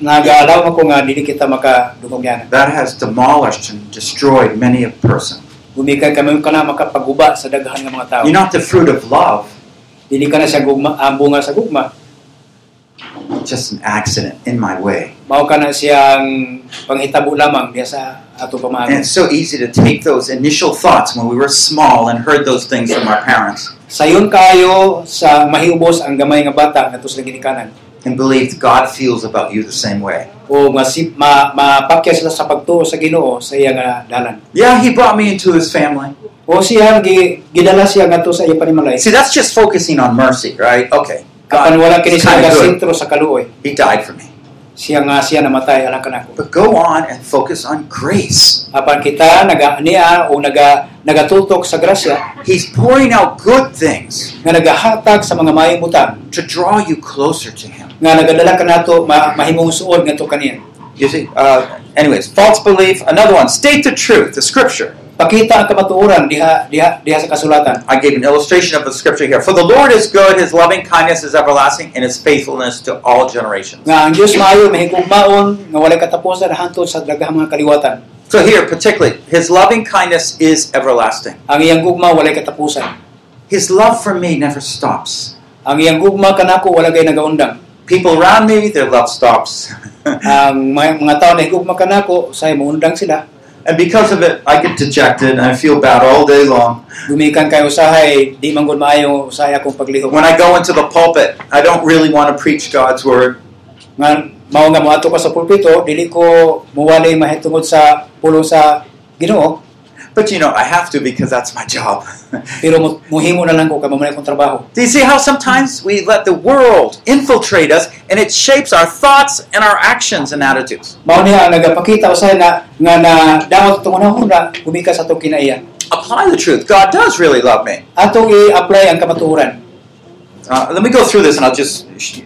Speaker 2: nagaalaw mo ko nga dili kita makadungog yan
Speaker 1: That has demolished and destroyed many a person.
Speaker 2: gumikan kami ka na makapaguba sa daghan nga mga tao
Speaker 1: You're not the fruit of love,
Speaker 2: dili ka na siya gugma ang bunga sa gugma
Speaker 1: just an accident in my way.
Speaker 2: mao ka na siyang panghitabo lamang diya sa ato
Speaker 1: And
Speaker 2: pamahagon
Speaker 1: it's so easy to take those initial thoughts when we were small and heard those things from our parents
Speaker 2: sayon kayo sa mahiubos ang gamay nga bata nga sa ginikanan
Speaker 1: and believed God feels about you the same way.
Speaker 2: o nga si, ma, mapakya sila sa pagtuo sa Ginoo sa iya nga dalan
Speaker 1: Yeah, he brought me into his family.
Speaker 2: O siya, gi, gidala siya nga to sa iya panimalay.
Speaker 1: See, that's just focusing on mercy, right? Okay,
Speaker 2: Kapan wala kini siya
Speaker 1: Kinda
Speaker 2: nga
Speaker 1: good.
Speaker 2: sentro sa kaluoy.
Speaker 1: he died for me.
Speaker 2: Siya nga siya namatay, alang kanako.
Speaker 1: But go on and focus on grace.
Speaker 2: Apan kita, naga niya o naga, nagatutok sa grasya,
Speaker 1: He's pouring out good things
Speaker 2: nga nagahatag sa mga mayong butang,
Speaker 1: to draw you closer to him.
Speaker 2: nga nagadala ka nato ma, mahimong suod nga to kaniya.
Speaker 1: You see, uh, anyways, false belief. Another one, state the truth, the scripture.
Speaker 2: Pakita ang kamatuoran diha, diha, diha sa kasulatan.
Speaker 1: I gave an illustration of the scripture here. For the Lord is good, his loving kindness is everlasting, and his faithfulness to all generations.
Speaker 2: Nga ang Diyos maayo, mahigugmaon, nga walay katapusan hantod sa daghang mga kaliwatan.
Speaker 1: So here, particularly, his loving kindness is everlasting.
Speaker 2: Ang iyang gugma, walay katapusan.
Speaker 1: His love for me never stops.
Speaker 2: Ang iyang gugma kanako, wala kay nagaundang.
Speaker 1: People around me, their love stops.
Speaker 2: Ang mga, mga tao na higugma kanako, say muundang sila,
Speaker 1: and because of it, I get dejected and I feel bad all day long.
Speaker 2: Gumikan kayo usahay, di man gud maayo usay akong paglihok.
Speaker 1: When I go into the pulpit, I don't really want to preach God's word.
Speaker 2: Nga mao nga moadto ka sa pulpito, dili ko muwali mahitungod sa pulo sa Ginoo.
Speaker 1: But you know, I have to because that's my job.
Speaker 2: Pero mu- muhimo na lang ko kay mamanay kong trabaho.
Speaker 1: Do you see how sometimes we let the world infiltrate us and it shapes our thoughts and our actions and attitudes?
Speaker 2: Mao niya ang nagapakita usay na nga na daot tong unahon na gumika sa atong kinaiya.
Speaker 1: Apply the truth. God does really love me.
Speaker 2: Atong i-apply ang kamatuoran.
Speaker 1: Uh, let me go through this and I'll just sh-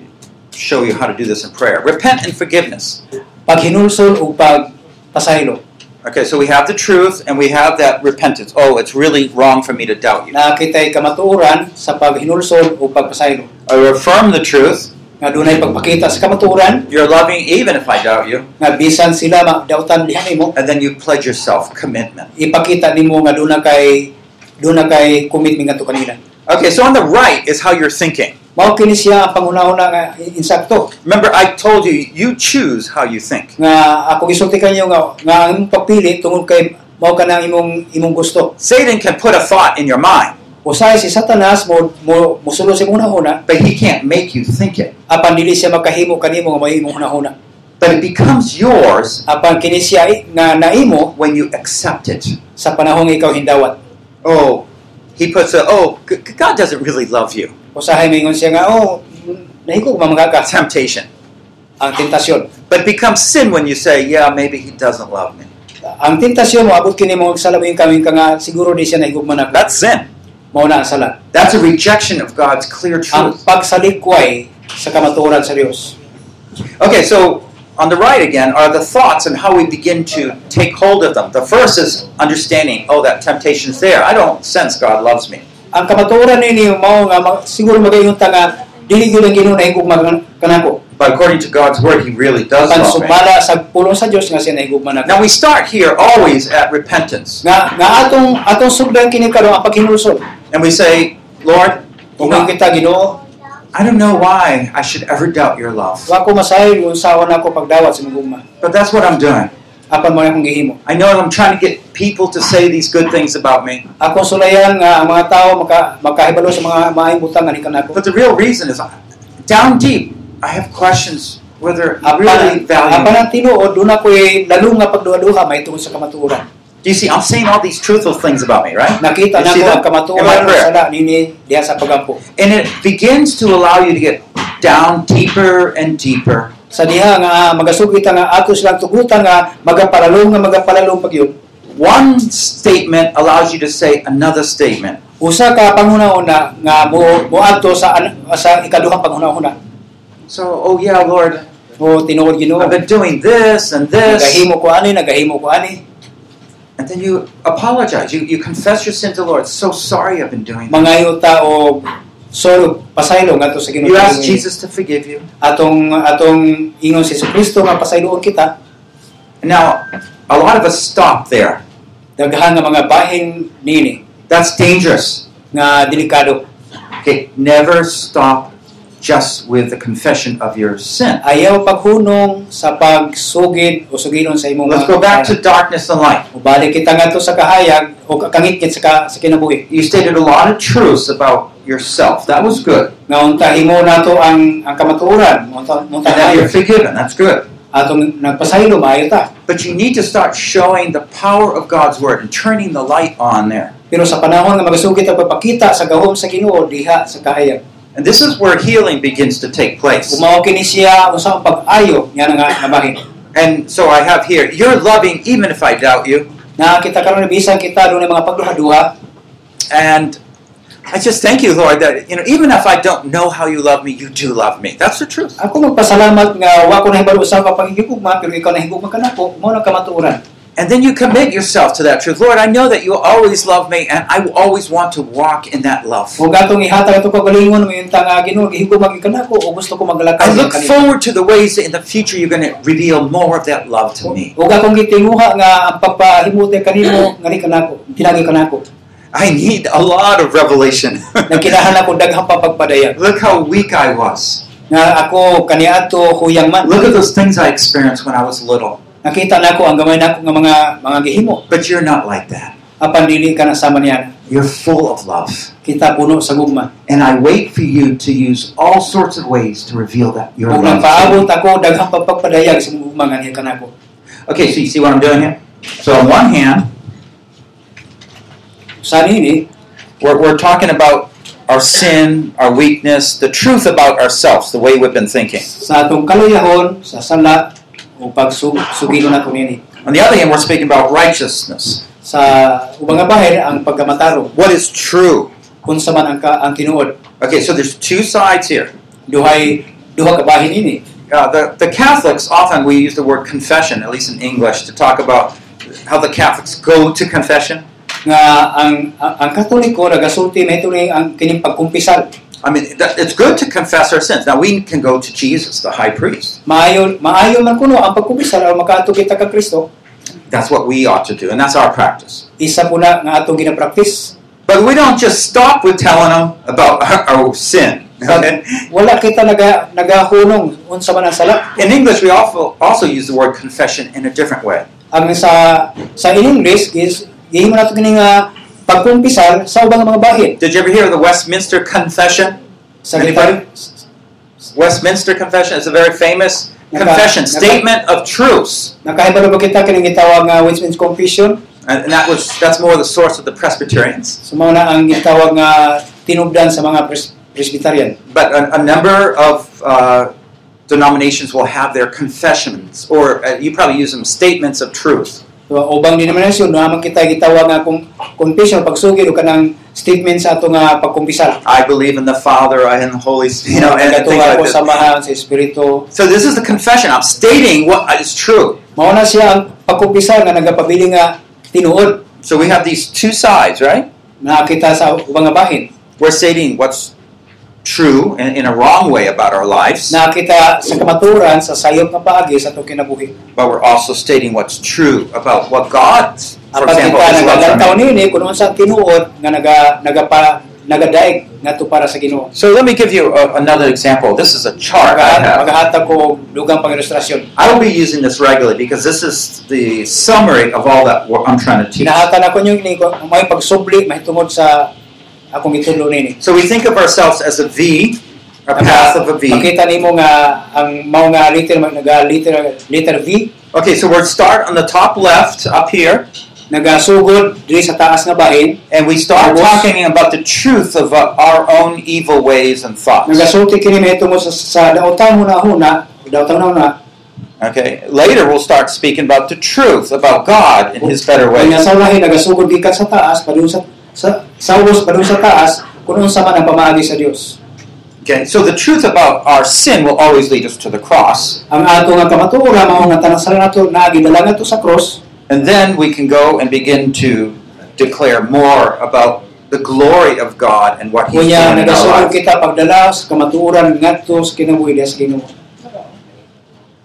Speaker 1: show you how to do this in prayer. Repent and forgiveness.
Speaker 2: Paghinulsol ug pagpasaylo.
Speaker 1: Okay, so we have the truth and we have that repentance. Oh, it's really wrong for me to doubt you.
Speaker 2: Nakitay kamatuoran sa paghinulsol ug pagpasaylo.
Speaker 1: I affirm the truth.
Speaker 2: Nga dunay pagpakita sa kamatuoran
Speaker 1: You're loving even if I doubt you.
Speaker 2: nga bisan sila magdaotan diha nimo
Speaker 1: And then you pledge yourself commitment.
Speaker 2: ipakita nimo nga duna kay duna kay commitment nga to kanila.
Speaker 1: Okay, so on the right is how you're thinking.
Speaker 2: Mao kini siya ang pangunahuna nga insakto
Speaker 1: Remember, I told you, you choose how you think.
Speaker 2: nga ako gisulti kanyo nga nga ang imong pagpili tungod kay mao ka na ang imong imong gusto.
Speaker 1: Satan can put a thought in your mind,
Speaker 2: Usay si Satanas mo mo musulo sa imong huna
Speaker 1: but he can't make you think it.
Speaker 2: apan dili siya makahimo kanimo nga mao imong huna
Speaker 1: But it becomes yours
Speaker 2: apan kini siya i- nga naimo
Speaker 1: when you accept it.
Speaker 2: sa panahong ikaw hindawat.
Speaker 1: Oh, he puts a, oh, g- g- God doesn't really love you.
Speaker 2: Usahay mingon siya nga oh nahiko ko mamaga ka
Speaker 1: Temptation.
Speaker 2: ang tentasyon.
Speaker 1: But it becomes sin when you say, yeah, maybe he doesn't love me.
Speaker 2: ang tentasyon mo abot kini mo salamin kami ka nga siguro di siya nahigugman na
Speaker 1: That's sin.
Speaker 2: mao na ang sala
Speaker 1: That's a rejection of God's clear
Speaker 2: ang
Speaker 1: truth.
Speaker 2: pagsalikway sa kamatuoran sa Dios
Speaker 1: Okay, so on the right again are the thoughts and how we begin to take hold of them. The first is understanding, oh, that temptation's there. I don't sense God loves me.
Speaker 2: ang kamatuoran nini mao nga ma- siguro magayong tanga dili gyud ang Ginoo nahigugman kan- kanako
Speaker 1: But according to God's word, he really does
Speaker 2: apan
Speaker 1: love me.
Speaker 2: sumala sa pulong sa Dios nga siya nahigugman na
Speaker 1: Now we start here always at repentance.
Speaker 2: nga nga atong atong sugdan kini karon ang paghinulsol
Speaker 1: And we say, Lord, you know,
Speaker 2: Ugang kita Ginoo
Speaker 1: I don't know why I should ever doubt your love.
Speaker 2: wa ko masahay unsawa nako pagdawat sa imong
Speaker 1: But that's what I'm doing.
Speaker 2: apan mo na akong gihimo
Speaker 1: I know I'm trying to get people to say these good things about me.
Speaker 2: akong sulayan nga ang mga tao maka makahibalo sa mga maayong butang ani kanako
Speaker 1: But the real reason is I- down deep, I have questions whether I really
Speaker 2: Apan, apan
Speaker 1: value me.
Speaker 2: ang tinuod, doon ako eh, lalo nga pagduha-duha, may tungkol sa kamatuoran.
Speaker 1: Do you see? I'm saying all these truthful things about me, right?
Speaker 2: Nakita
Speaker 1: You
Speaker 2: na
Speaker 1: see
Speaker 2: ko
Speaker 1: that?
Speaker 2: ang kamatuoran
Speaker 1: In my
Speaker 2: ang
Speaker 1: prayer.
Speaker 2: sala nini diha sa pagampo.
Speaker 1: And it begins to allow you to get down deeper and deeper.
Speaker 2: Sa diha nga magasugit nga ato silang tugutan nga magapalalong nga magapalalong pagyud.
Speaker 1: One statement allows you to say another statement.
Speaker 2: Usa ka panghuna-una nga mo moadto sa an- sa ikaduhang panghuna-una.
Speaker 1: So, oh yeah, Lord,
Speaker 2: Mo tinuod Ginoo.
Speaker 1: I've been doing this and this.
Speaker 2: Nagahimo ko ani, nagahimo ko ani.
Speaker 1: And then you apologize. You, you confess your sin to the Lord. So sorry I've been doing that.
Speaker 2: Mangayo ta o sorog pasaylo nga to sa Ginoo.
Speaker 1: You ask Jesus to forgive you.
Speaker 2: Atong atong ingon si Kristo nga pasayloon kita.
Speaker 1: Now, a lot of us stop there.
Speaker 2: daghan nga mga bahin nini
Speaker 1: That's dangerous.
Speaker 2: nga delikado
Speaker 1: Okay, never stop just with the confession of your sin.
Speaker 2: ayaw paghunong sa pagsugid o sugilon sa imong
Speaker 1: Let's go back to darkness and light.
Speaker 2: ubalik kita nga to sa kahayag o kangit sa, ka, sa kinabuhi
Speaker 1: You stated a lot of truths about yourself. That was good.
Speaker 2: nga unta himo nato ang ang kamatuoran unta
Speaker 1: And
Speaker 2: unta
Speaker 1: that you're
Speaker 2: ayo
Speaker 1: forgiven. That's good.
Speaker 2: atong nagpasaylo maayo ta
Speaker 1: But you need to start showing the power of God's word and turning the light on there.
Speaker 2: pero sa panahon nga magasugid ang pagpakita sa gahom sa Ginoo diha sa kahayag
Speaker 1: And this is where healing begins to take place.
Speaker 2: umao kini siya usa ang pag-ayo nga nga nga bahin
Speaker 1: And so I have here, you're loving even if I doubt you.
Speaker 2: nakakita karon na bisan kita dunay mga pagduha-duha
Speaker 1: And I just thank you, Lord, that you know, even if I don't know how you love me, you do love me. That's the truth.
Speaker 2: Ako magpasalamat nga wa ko nahibalo sa ka pangigugma pero ikaw nahigugma ka nako mo na kamatuoran.
Speaker 1: And then you commit yourself to that truth. Lord, I know that you always love me, and I will always want to walk in that love.
Speaker 2: Huwag atong ihatag ato kagalingon mo yung tanga Ginoo gihigugma gyud kanako o gusto ko maglakad
Speaker 1: I
Speaker 2: ng
Speaker 1: look
Speaker 2: kanila.
Speaker 1: forward to the ways that in the future you're going to reveal more of that love to me.
Speaker 2: Huwag akong gitinguha nga ang pagpahimuti kanimo ngani kanako tinagi kanako.
Speaker 1: I need a lot of revelation.
Speaker 2: Nagkinahan ako daghang papagpadaya
Speaker 1: look how weak I was.
Speaker 2: nga ako kaniadto huyang man.
Speaker 1: Look at those things I experienced when I was little.
Speaker 2: Nakita nako ang gamay nako nga mga mga gihimo
Speaker 1: But you're not like that.
Speaker 2: apan dili ka nasama niya.
Speaker 1: You're full of love.
Speaker 2: Kita puno sa gugma.
Speaker 1: And I wait for you to use all sorts of ways to reveal that your
Speaker 2: Huwag
Speaker 1: love. to me.
Speaker 2: nagpaabot ako daghang papagpadayag sa gugma ngani kanako.
Speaker 1: Okay, so you see what I'm doing here? So on one hand,
Speaker 2: Sa nini,
Speaker 1: We're, we're talking about our sin, our weakness, the truth about ourselves, the way we've been thinking.
Speaker 2: sa atong kaluyahon, sa sala, o pagsugilo na kunini.
Speaker 1: On the other hand, we're speaking about righteousness.
Speaker 2: Sa ubang nga bahin, ang pagkamataro,
Speaker 1: What is true?
Speaker 2: kung sa man ang, ka, ang tinuod,
Speaker 1: Okay, so there's two sides here.
Speaker 2: duhay, duha ka bahin ini.
Speaker 1: Uh, the, the Catholics, often we use the word confession, at least in English, to talk about how the Catholics go to confession.
Speaker 2: Nga ang, ang, ang katoliko, nagasulti na ito rin ang kining pagkumpisal.
Speaker 1: I mean, that, it's good to confess our sins. Now, we can go to Jesus, the high priest.
Speaker 2: Maayon, maayon man kuno ang pagkumpisal o makaadto kita ka Kristo,
Speaker 1: That's what we ought to do, and that's our practice.
Speaker 2: isa po na nga atong ginapractice.
Speaker 1: But we don't just stop with telling them about our, our sin. Okay?
Speaker 2: Wala kita naga, nagahunong unsa man ang sala.
Speaker 1: In English, we also, also use the word confession in a different way.
Speaker 2: ang sa sa in English is gihimo nato kini nga pagkumpisal sa ubang mga bahin
Speaker 1: Did you ever hear of the Westminster Confession?
Speaker 2: sa Gilipari
Speaker 1: Westminster Confession is a very famous confession, statement of truths.
Speaker 2: nakahibalo ba kita kini gitawag nga Westminster Confession
Speaker 1: And and that was that's more the source of the Presbyterians.
Speaker 2: so mao na ang gitawag nga tinubdan sa mga pres- Presbyterian
Speaker 1: But a, a number of uh, denominations will have their confessions, or uh, you probably use them statements of truth.
Speaker 2: so, ubang denominasyon naman kita gitawag nga kung confession pagsugid o kanang statement sa ato nga pagkumpisal
Speaker 1: I believe in the Father and the Holy Spirit. You know, and things
Speaker 2: Katuwa
Speaker 1: like
Speaker 2: ko sa
Speaker 1: this.
Speaker 2: Mahan, sa Espiritu
Speaker 1: So this is the confession. I'm stating what is true.
Speaker 2: mao na siya ang pagkumpisal nga nagapabili nga tinuod
Speaker 1: So we have these two sides, right?
Speaker 2: nakita sa ubang nga bahin
Speaker 1: we're stating what's true in, in a wrong way about our lives,
Speaker 2: nakita sa kamaturan sa sayop nga paagi sa atong kinabuhi.
Speaker 1: but we're also stating what's true about what God, for
Speaker 2: Apat
Speaker 1: example,
Speaker 2: kita
Speaker 1: is love
Speaker 2: nagalantaw
Speaker 1: for me.
Speaker 2: nini kung unsa ang tinuod nga naga nagapa nagadaig ngadto para sa Ginoo.
Speaker 1: So let me give you a, another example. This is a chart I
Speaker 2: Magahat-
Speaker 1: have.
Speaker 2: Magahatag ko og dugang pangilustrasyon.
Speaker 1: I will be using this regularly because this is the summary of all that wo- I'm trying to teach.
Speaker 2: Hinahatan ako niyo ni may pagsubli mahitungod sa akong itulo nini.
Speaker 1: So we think of ourselves as a V, a path of a V.
Speaker 2: Makita nimo nga ang mao nga liter naga liter liter V
Speaker 1: Okay, so we'll start on the top left up here,
Speaker 2: nagasugod diri sa taas nga bahin,
Speaker 1: and we start
Speaker 2: Almost.
Speaker 1: talking about the truth of uh, our own evil ways and thoughts.
Speaker 2: nagasulti kini mahitungod sa sa daotang hunahuna, daotang hunahuna
Speaker 1: Okay. Later, we'll start speaking about the truth about God and His better
Speaker 2: Kaya
Speaker 1: ways.
Speaker 2: sa lahi nagasugod gikan sa taas padung sa sa sa ulos padung sa taas kung unsa man ang pamaagi sa Dios.
Speaker 1: Okay. So the truth about our sin will always lead us to the cross,
Speaker 2: Ang ato nga kamatuora mao nga tanasan nato naa gidala nato sa cross
Speaker 1: and then we can go and begin to declare more about the glory of God and what He's
Speaker 2: kunya
Speaker 1: doing in our
Speaker 2: nagasugod
Speaker 1: life.
Speaker 2: kita pagdala sa kamatuoran ngadto sa kinabuhi diha sa Ginoo.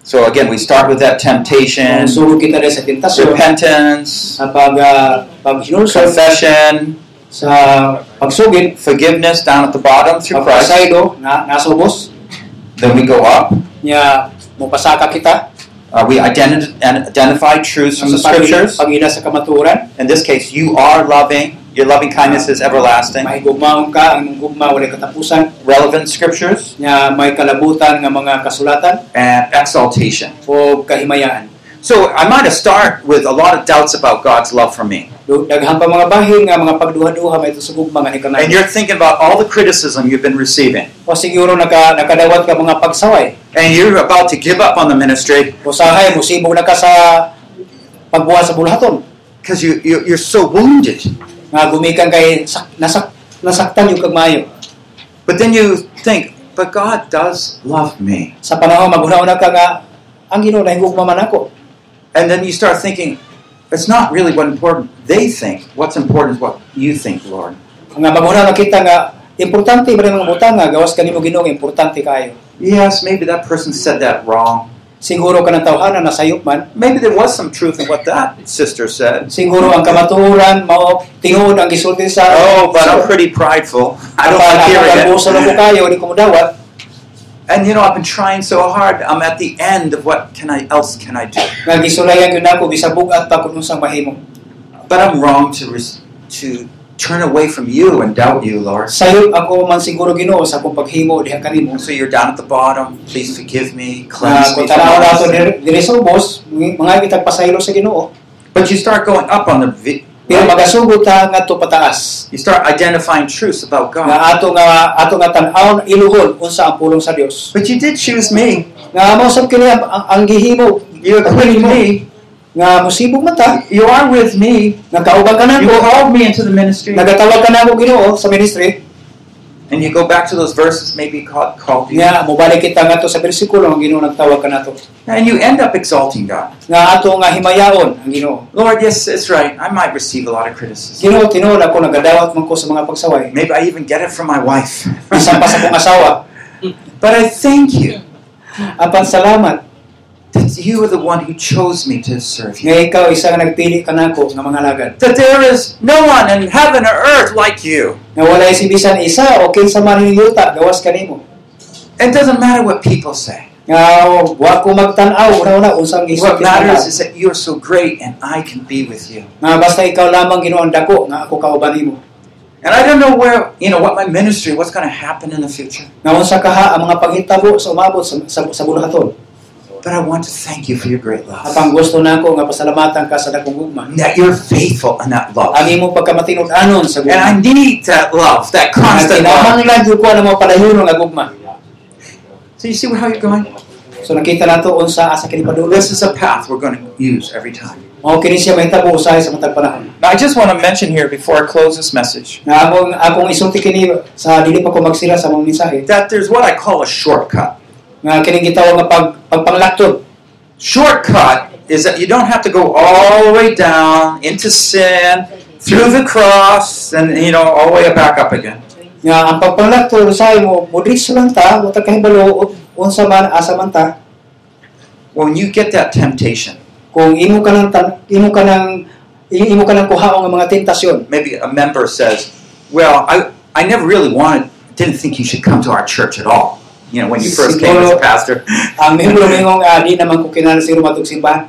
Speaker 1: So again, we start with that temptation,
Speaker 2: Nagasugod kita diha sa tentasyon
Speaker 1: repentance,
Speaker 2: sa pag ah, paghinulsol
Speaker 1: confession,
Speaker 2: sa pagsugid
Speaker 1: forgiveness down at the bottom through Christ.
Speaker 2: pagpasaylo na nasubos
Speaker 1: Then we go up.
Speaker 2: nya mopasaka kita
Speaker 1: Uh, we identi- and identify truths from the
Speaker 2: sa pag-
Speaker 1: scriptures.
Speaker 2: pagila sa kamatuoran
Speaker 1: In this case, you are loving. Your loving kindness is everlasting.
Speaker 2: mahigugmaon ka ang imong gugma walay katapusan
Speaker 1: relevant scriptures
Speaker 2: nga may kalabutan nga mga kasulatan
Speaker 1: and exaltation.
Speaker 2: o kahimayaan.
Speaker 1: So I might have started with a lot of doubts about God's love for me.
Speaker 2: Du- Daghan pa mga bahin nga mga pagduha-duha may tusugog mga
Speaker 1: And
Speaker 2: hikanan.
Speaker 1: you're thinking about all the criticism you've been receiving.
Speaker 2: O siguro naka, nakadawat ka mga pagsaway.
Speaker 1: And you're about to give up on the ministry
Speaker 2: O sahay, musibog na ka sa pagbuhat sa bulhaton.
Speaker 1: because you, you, you're so wounded.
Speaker 2: Nga gumikan kay sak, nasak, nasaktan yung kagmayo.
Speaker 1: But then you think, but God does love me.
Speaker 2: Sa panahon, maghunahon na ka nga, ang Ginoo nahigugma man ako.
Speaker 1: And then you start thinking, it's not really what important they think. What's important is what you think, Lord.
Speaker 2: Nga maghunahon na kita nga, importante ba rin mga butang nga, gawas ka nimo Ginoo, importante kaayo.
Speaker 1: Yes, maybe that person said that wrong.
Speaker 2: Siguro ka ng tawhana na sayop man,
Speaker 1: Maybe there was some truth in what that sister said.
Speaker 2: siguro ang kamatuoran, mao tinuod ang gisulti sa
Speaker 1: Oh, but I'm pretty prideful. I don't like
Speaker 2: Ang puso na ko
Speaker 1: hearing it.
Speaker 2: kayo, hindi ko mudawat.
Speaker 1: And you know, I've been trying so hard. I'm at the end of what can I else can I do?
Speaker 2: Nagisulayan yun ako, bisabog at pakot sa mahimo.
Speaker 1: But I'm wrong to res- to turn away from you and doubt you, Lord.
Speaker 2: Sayo ako man siguro ginoo sa akong paghimo diha kanimo.
Speaker 1: And so you're down at the bottom. Please forgive me,
Speaker 2: Na
Speaker 1: cleanse me.
Speaker 2: Ah, kung
Speaker 1: From
Speaker 2: tanaw na
Speaker 1: all
Speaker 2: ito
Speaker 1: sin.
Speaker 2: dire- dire sa ubos, mga kitag pasaylo sa ginoo.
Speaker 1: But you start going up on the v-
Speaker 2: Pero magasugot ta ngadto pataas.
Speaker 1: You start identifying truths about
Speaker 2: Nga
Speaker 1: God.
Speaker 2: ato nga ato nga tan-aw na iluhon unsa ang pulong sa Dios.
Speaker 1: But you did choose me.
Speaker 2: Nga mao sab kini ang, ang, ang gihimo
Speaker 1: You
Speaker 2: Ang
Speaker 1: appointed
Speaker 2: gihimo,
Speaker 1: me.
Speaker 2: nga mosibog mata
Speaker 1: You are with me.
Speaker 2: nga kaubag ka
Speaker 1: You
Speaker 2: nako.
Speaker 1: called me into the ministry.
Speaker 2: Nagatawag ka na ako Ginoo sa ministry
Speaker 1: And you go back to those verses maybe God called you.
Speaker 2: nga mobalik kita ngadto sa bersikulo nga Ginoo nagtawag ka nato.
Speaker 1: And you end up exalting God.
Speaker 2: Nga ato nga himayaon ang Ginoo.
Speaker 1: Lord, yes, it's right. I might receive a lot of criticism.
Speaker 2: Ginoo tinuod ako nagadawat man ko sa mga pagsaway.
Speaker 1: Maybe I even get it from my wife.
Speaker 2: Bisan pa sa akong asawa.
Speaker 1: But I thank you
Speaker 2: Apan salamat
Speaker 1: that you are the one who chose me to serve you.
Speaker 2: nga ikaw isa nga nagpili ka nako nga mga lagad.
Speaker 1: That there is no one in heaven or earth like you.
Speaker 2: Nga wala si bisan isa o kinsa man yung yuta gawas kanimo.
Speaker 1: It doesn't matter what people say.
Speaker 2: Nga wa ko magtan-aw una una unsang
Speaker 1: What
Speaker 2: isulat
Speaker 1: matters is that you are so great and I can be with you.
Speaker 2: nga basta ikaw lamang Ginoo ang dako nga ako kauban nimo.
Speaker 1: And I don't know where, you know, what my ministry, what's going to happen in the future.
Speaker 2: Nga unsa kaha ang mga paghitabo sa umabot sa sa, sa bulahaton.
Speaker 1: But I want to thank you for your great
Speaker 2: Apang
Speaker 1: love.
Speaker 2: gusto nako nga pasalamatan ka sa dakong gugma.
Speaker 1: That you're faithful in that love.
Speaker 2: Ang imong pagkamatinud-anon sa
Speaker 1: And I
Speaker 2: gugma.
Speaker 1: need that love, that
Speaker 2: Ang
Speaker 1: constant love.
Speaker 2: kinamang lagi ko ang mga palayon nga gugma.
Speaker 1: So you see how you're going?
Speaker 2: So nakita nato unsa asa kini padulo.
Speaker 1: This is a path we're going to use every time.
Speaker 2: Mao kini siya mahitabo usahay sa matag panahon.
Speaker 1: Now, I just want to mention here before I close this message
Speaker 2: Nga akong akong isulti kini sa dili pa ko magsira sa mga mensahe.
Speaker 1: that there's what I call a shortcut.
Speaker 2: nga kining gitawag nga pag pagpanglaktod.
Speaker 1: Shortcut is that you don't have to go all the way down into sin, through the cross, and you know, all the way back up again.
Speaker 2: Nga ang pagpanglaktod sa mo mudris lang ta mo kahibalo u- unsa man asa man ta
Speaker 1: When you get that temptation,
Speaker 2: kung imo ka nang tan- imo ka nang i- imo ka nang kuhaon nga mga tentasyon.
Speaker 1: maybe a member says, Well, I, I never really wanted, didn't think you should come to our church at all. You know, when you first came as a pastor.
Speaker 2: Ang miyembro mingong ah, di naman ko kinahanglan siguro matug simbahan.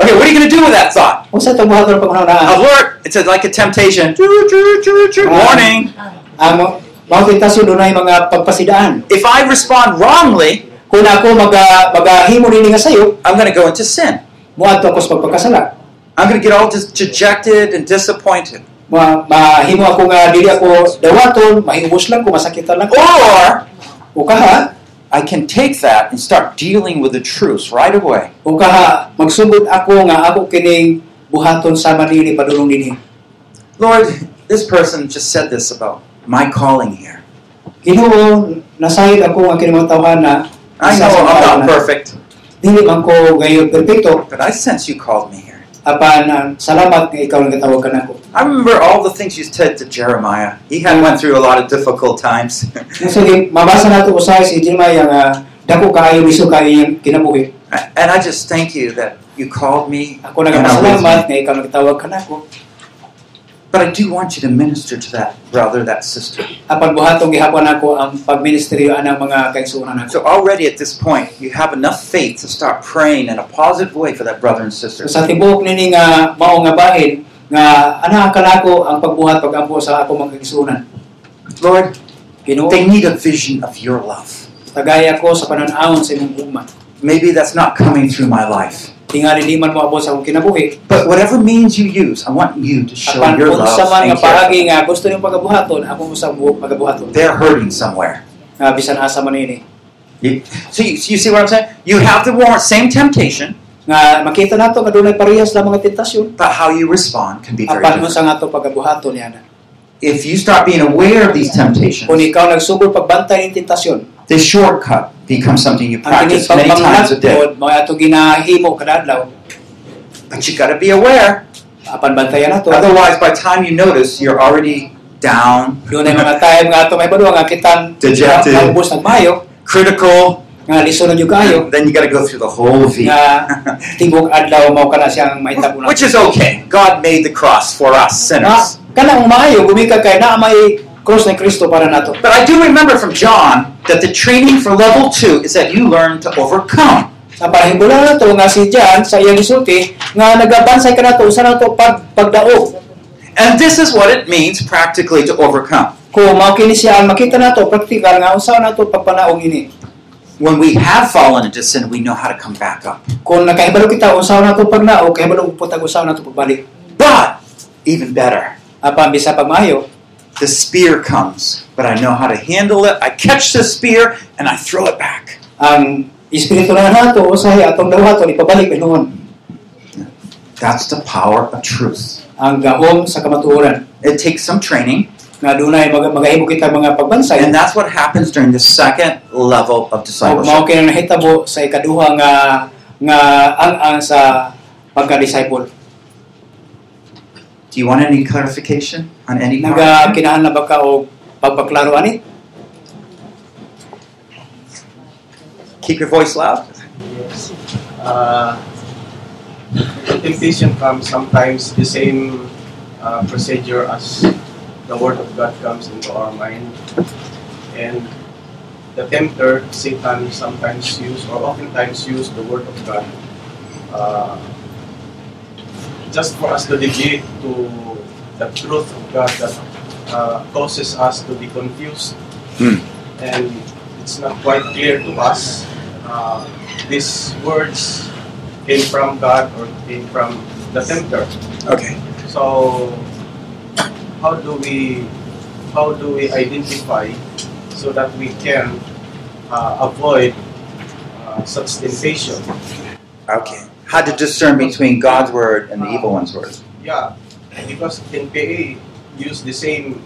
Speaker 1: Okay, what are you going to do with that thought?
Speaker 2: Unsa tong buhaton pangunahuna?
Speaker 1: alert. It's a- like a temptation. Choo, choo, choo, choo. Warning.
Speaker 2: Ang mga tentasyon dunay mga pagpasidaan.
Speaker 1: If I respond wrongly,
Speaker 2: Kung ako maga magahimo nini nga sayo,
Speaker 1: I'm going to go into sin.
Speaker 2: moadto ako sa pagpagkasala.
Speaker 1: I'm going to get all dis- dejected and disappointed.
Speaker 2: Ma, mahimo ako nga dili ako dawaton, mahimos lang ko masakitan lang Oh! ko.
Speaker 1: Or
Speaker 2: O kaha,
Speaker 1: I can take that and start dealing with the truths right away.
Speaker 2: O kaha, magsugod ako nga ako kining buhaton sa manili padulong dinhi.
Speaker 1: Lord, this person just said this about my calling here.
Speaker 2: Ginoo, nasayod ako ang kining mga tawhana.
Speaker 1: I know I'm not perfect,
Speaker 2: Dili man ko gayon perpekto,
Speaker 1: but I sense you called me here.
Speaker 2: apan ah, salamat nga ikaw nga tawag kanako.
Speaker 1: I remember all the things you said to Jeremiah. He had went through a lot of difficult times.
Speaker 2: Sige, mabasa nato usahay si Jeremiah nga dako kaayo biso ka iyang kinabuhi.
Speaker 1: and I just thank you that you called me.
Speaker 2: Ako
Speaker 1: and I'm with you.
Speaker 2: nagpasalamat nga ikaw nga tawag kanako.
Speaker 1: But I do want you to minister to that brother, that sister.
Speaker 2: Apan buhaton gihapon ako ang pagministeryo anang mga kaigsuonan
Speaker 1: So
Speaker 2: nako.
Speaker 1: already at this point, you have enough faith to start praying in a positive way for that brother and sister.
Speaker 2: So, sa tibuok nini nga mao nga bahin nga ana kanako ang pagbuhat pagampo sa ako mga kaigsuonan.
Speaker 1: Lord,
Speaker 2: Ginoo,
Speaker 1: they need a vision of your love.
Speaker 2: tagaya ko sa pananawon sa imong ugma.
Speaker 1: Maybe that's not coming through my life.
Speaker 2: Tingali di man mo abot sa akong kinabuhi.
Speaker 1: But whatever means you use, I want you to show
Speaker 2: Apan
Speaker 1: your
Speaker 2: kung
Speaker 1: love.
Speaker 2: sa
Speaker 1: And
Speaker 2: man nga
Speaker 1: care.
Speaker 2: bahagi nga gusto niyong pagabuhaton, ako mo sa buhok pagabuhaton.
Speaker 1: They're hurting somewhere.
Speaker 2: Nga bisan asa man ini.
Speaker 1: You, so you, you see what I'm saying? You have the war, same temptation,
Speaker 2: Nga makita nato nga dunay parehas lang mga tentasyon.
Speaker 1: but how you respond can be very
Speaker 2: Apan mo
Speaker 1: different.
Speaker 2: sa nga ato pagabuhaton yana.
Speaker 1: If you start being aware of these
Speaker 2: Kung
Speaker 1: temptations,
Speaker 2: ikaw nagsugod pagbantay ng tentasyon,
Speaker 1: the shortcut becomes something you
Speaker 2: ang
Speaker 1: practice
Speaker 2: kining
Speaker 1: many times a day.
Speaker 2: pagmanglakod, mga ato ginahimo kadadlaw.
Speaker 1: But you got to be aware.
Speaker 2: Apan bantayan nato.
Speaker 1: Otherwise, by the time you notice, you're already down,
Speaker 2: Dunay mga time nga ato may baduwa nga kitang
Speaker 1: Dejected.
Speaker 2: nagbus nagmayo,
Speaker 1: critical.
Speaker 2: nga lisonan yung kayo,
Speaker 1: Then you got to go through the whole V,
Speaker 2: nga tibok adlaw mao kana siyang mahitabo na.
Speaker 1: which is okay. God made the cross for us
Speaker 2: Na,
Speaker 1: sinners.
Speaker 2: kana ang maayo gumika kay na may cross ni Kristo para nato.
Speaker 1: But I do remember from John that the training for level two is that you learn to overcome.
Speaker 2: Sa parahimbulan nato nga si John sa iyang isulti nga nagabansay ka nato usa nato pag pagdaog.
Speaker 1: And this is what it means practically to overcome.
Speaker 2: Kung mao kini siya ang makita nato praktikal nga unsa nato pagpanaog ini.
Speaker 1: When we have fallen into sin, we know how to come back up.
Speaker 2: Kung nakahibalo kita unsa nato pagnaog kahibalo putag usa nato pagbalik.
Speaker 1: But even better.
Speaker 2: apan bisa pagmaayo
Speaker 1: The spear comes, but I know how to handle it. I catch the spear and I throw it back.
Speaker 2: ang espiritu na nato usahay atong dawaton ipabalik pinuon
Speaker 1: That's the power of truth.
Speaker 2: ang gaom sa kamatuoran
Speaker 1: It takes some training,
Speaker 2: nga dunay mag magahimo kita mga pagbansay
Speaker 1: and that's what happens during the second level of
Speaker 2: ug mao
Speaker 1: discipleship.
Speaker 2: kay nahitabo sa ikaduha nga nga ang ang sa pagka-disciple
Speaker 1: Do you want any clarification on any
Speaker 2: naga
Speaker 1: part?
Speaker 2: kinahanglan ba ka og pagpaklaro ani
Speaker 1: Keep your voice loud.
Speaker 3: Yes. Uh, the temptation comes sometimes the same uh, procedure as the Word of God comes into our mind. And the tempter, Satan, sometimes use or oftentimes use the Word of God uh, just for us to deviate to the truth of God that uh, causes us to be confused.
Speaker 1: Hmm.
Speaker 3: And it's not quite clear to us. Uh, these words came from God or came from the tempter.
Speaker 1: Okay.
Speaker 3: So how do we how do we identify so that we can uh, avoid uh, such temptation?
Speaker 1: Okay. How to discern between God's word and the evil one's word.
Speaker 3: Yeah, because NPA used the same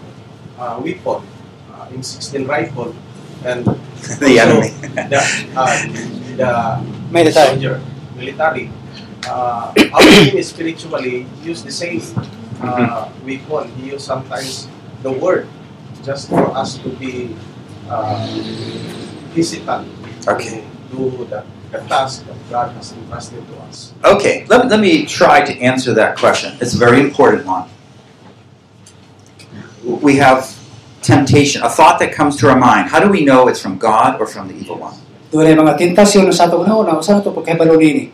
Speaker 3: uh, weapon uh, in 16 rifle and
Speaker 1: the enemy.
Speaker 3: the, uh, the
Speaker 2: may detay
Speaker 3: soldier, military. Uh, our enemy spiritually use the same uh, weapon. He use sometimes the word just for us to be uh, hesitant
Speaker 1: Okay.
Speaker 3: to do the, the task that God has entrusted to us.
Speaker 1: Okay, let, let me try to answer that question. It's a very important one. We have temptation, a thought that comes to our mind. How do we know it's from God or from the evil one?
Speaker 2: dunay mga tentasyon sa atong nauna usa na to pagkahibalo nini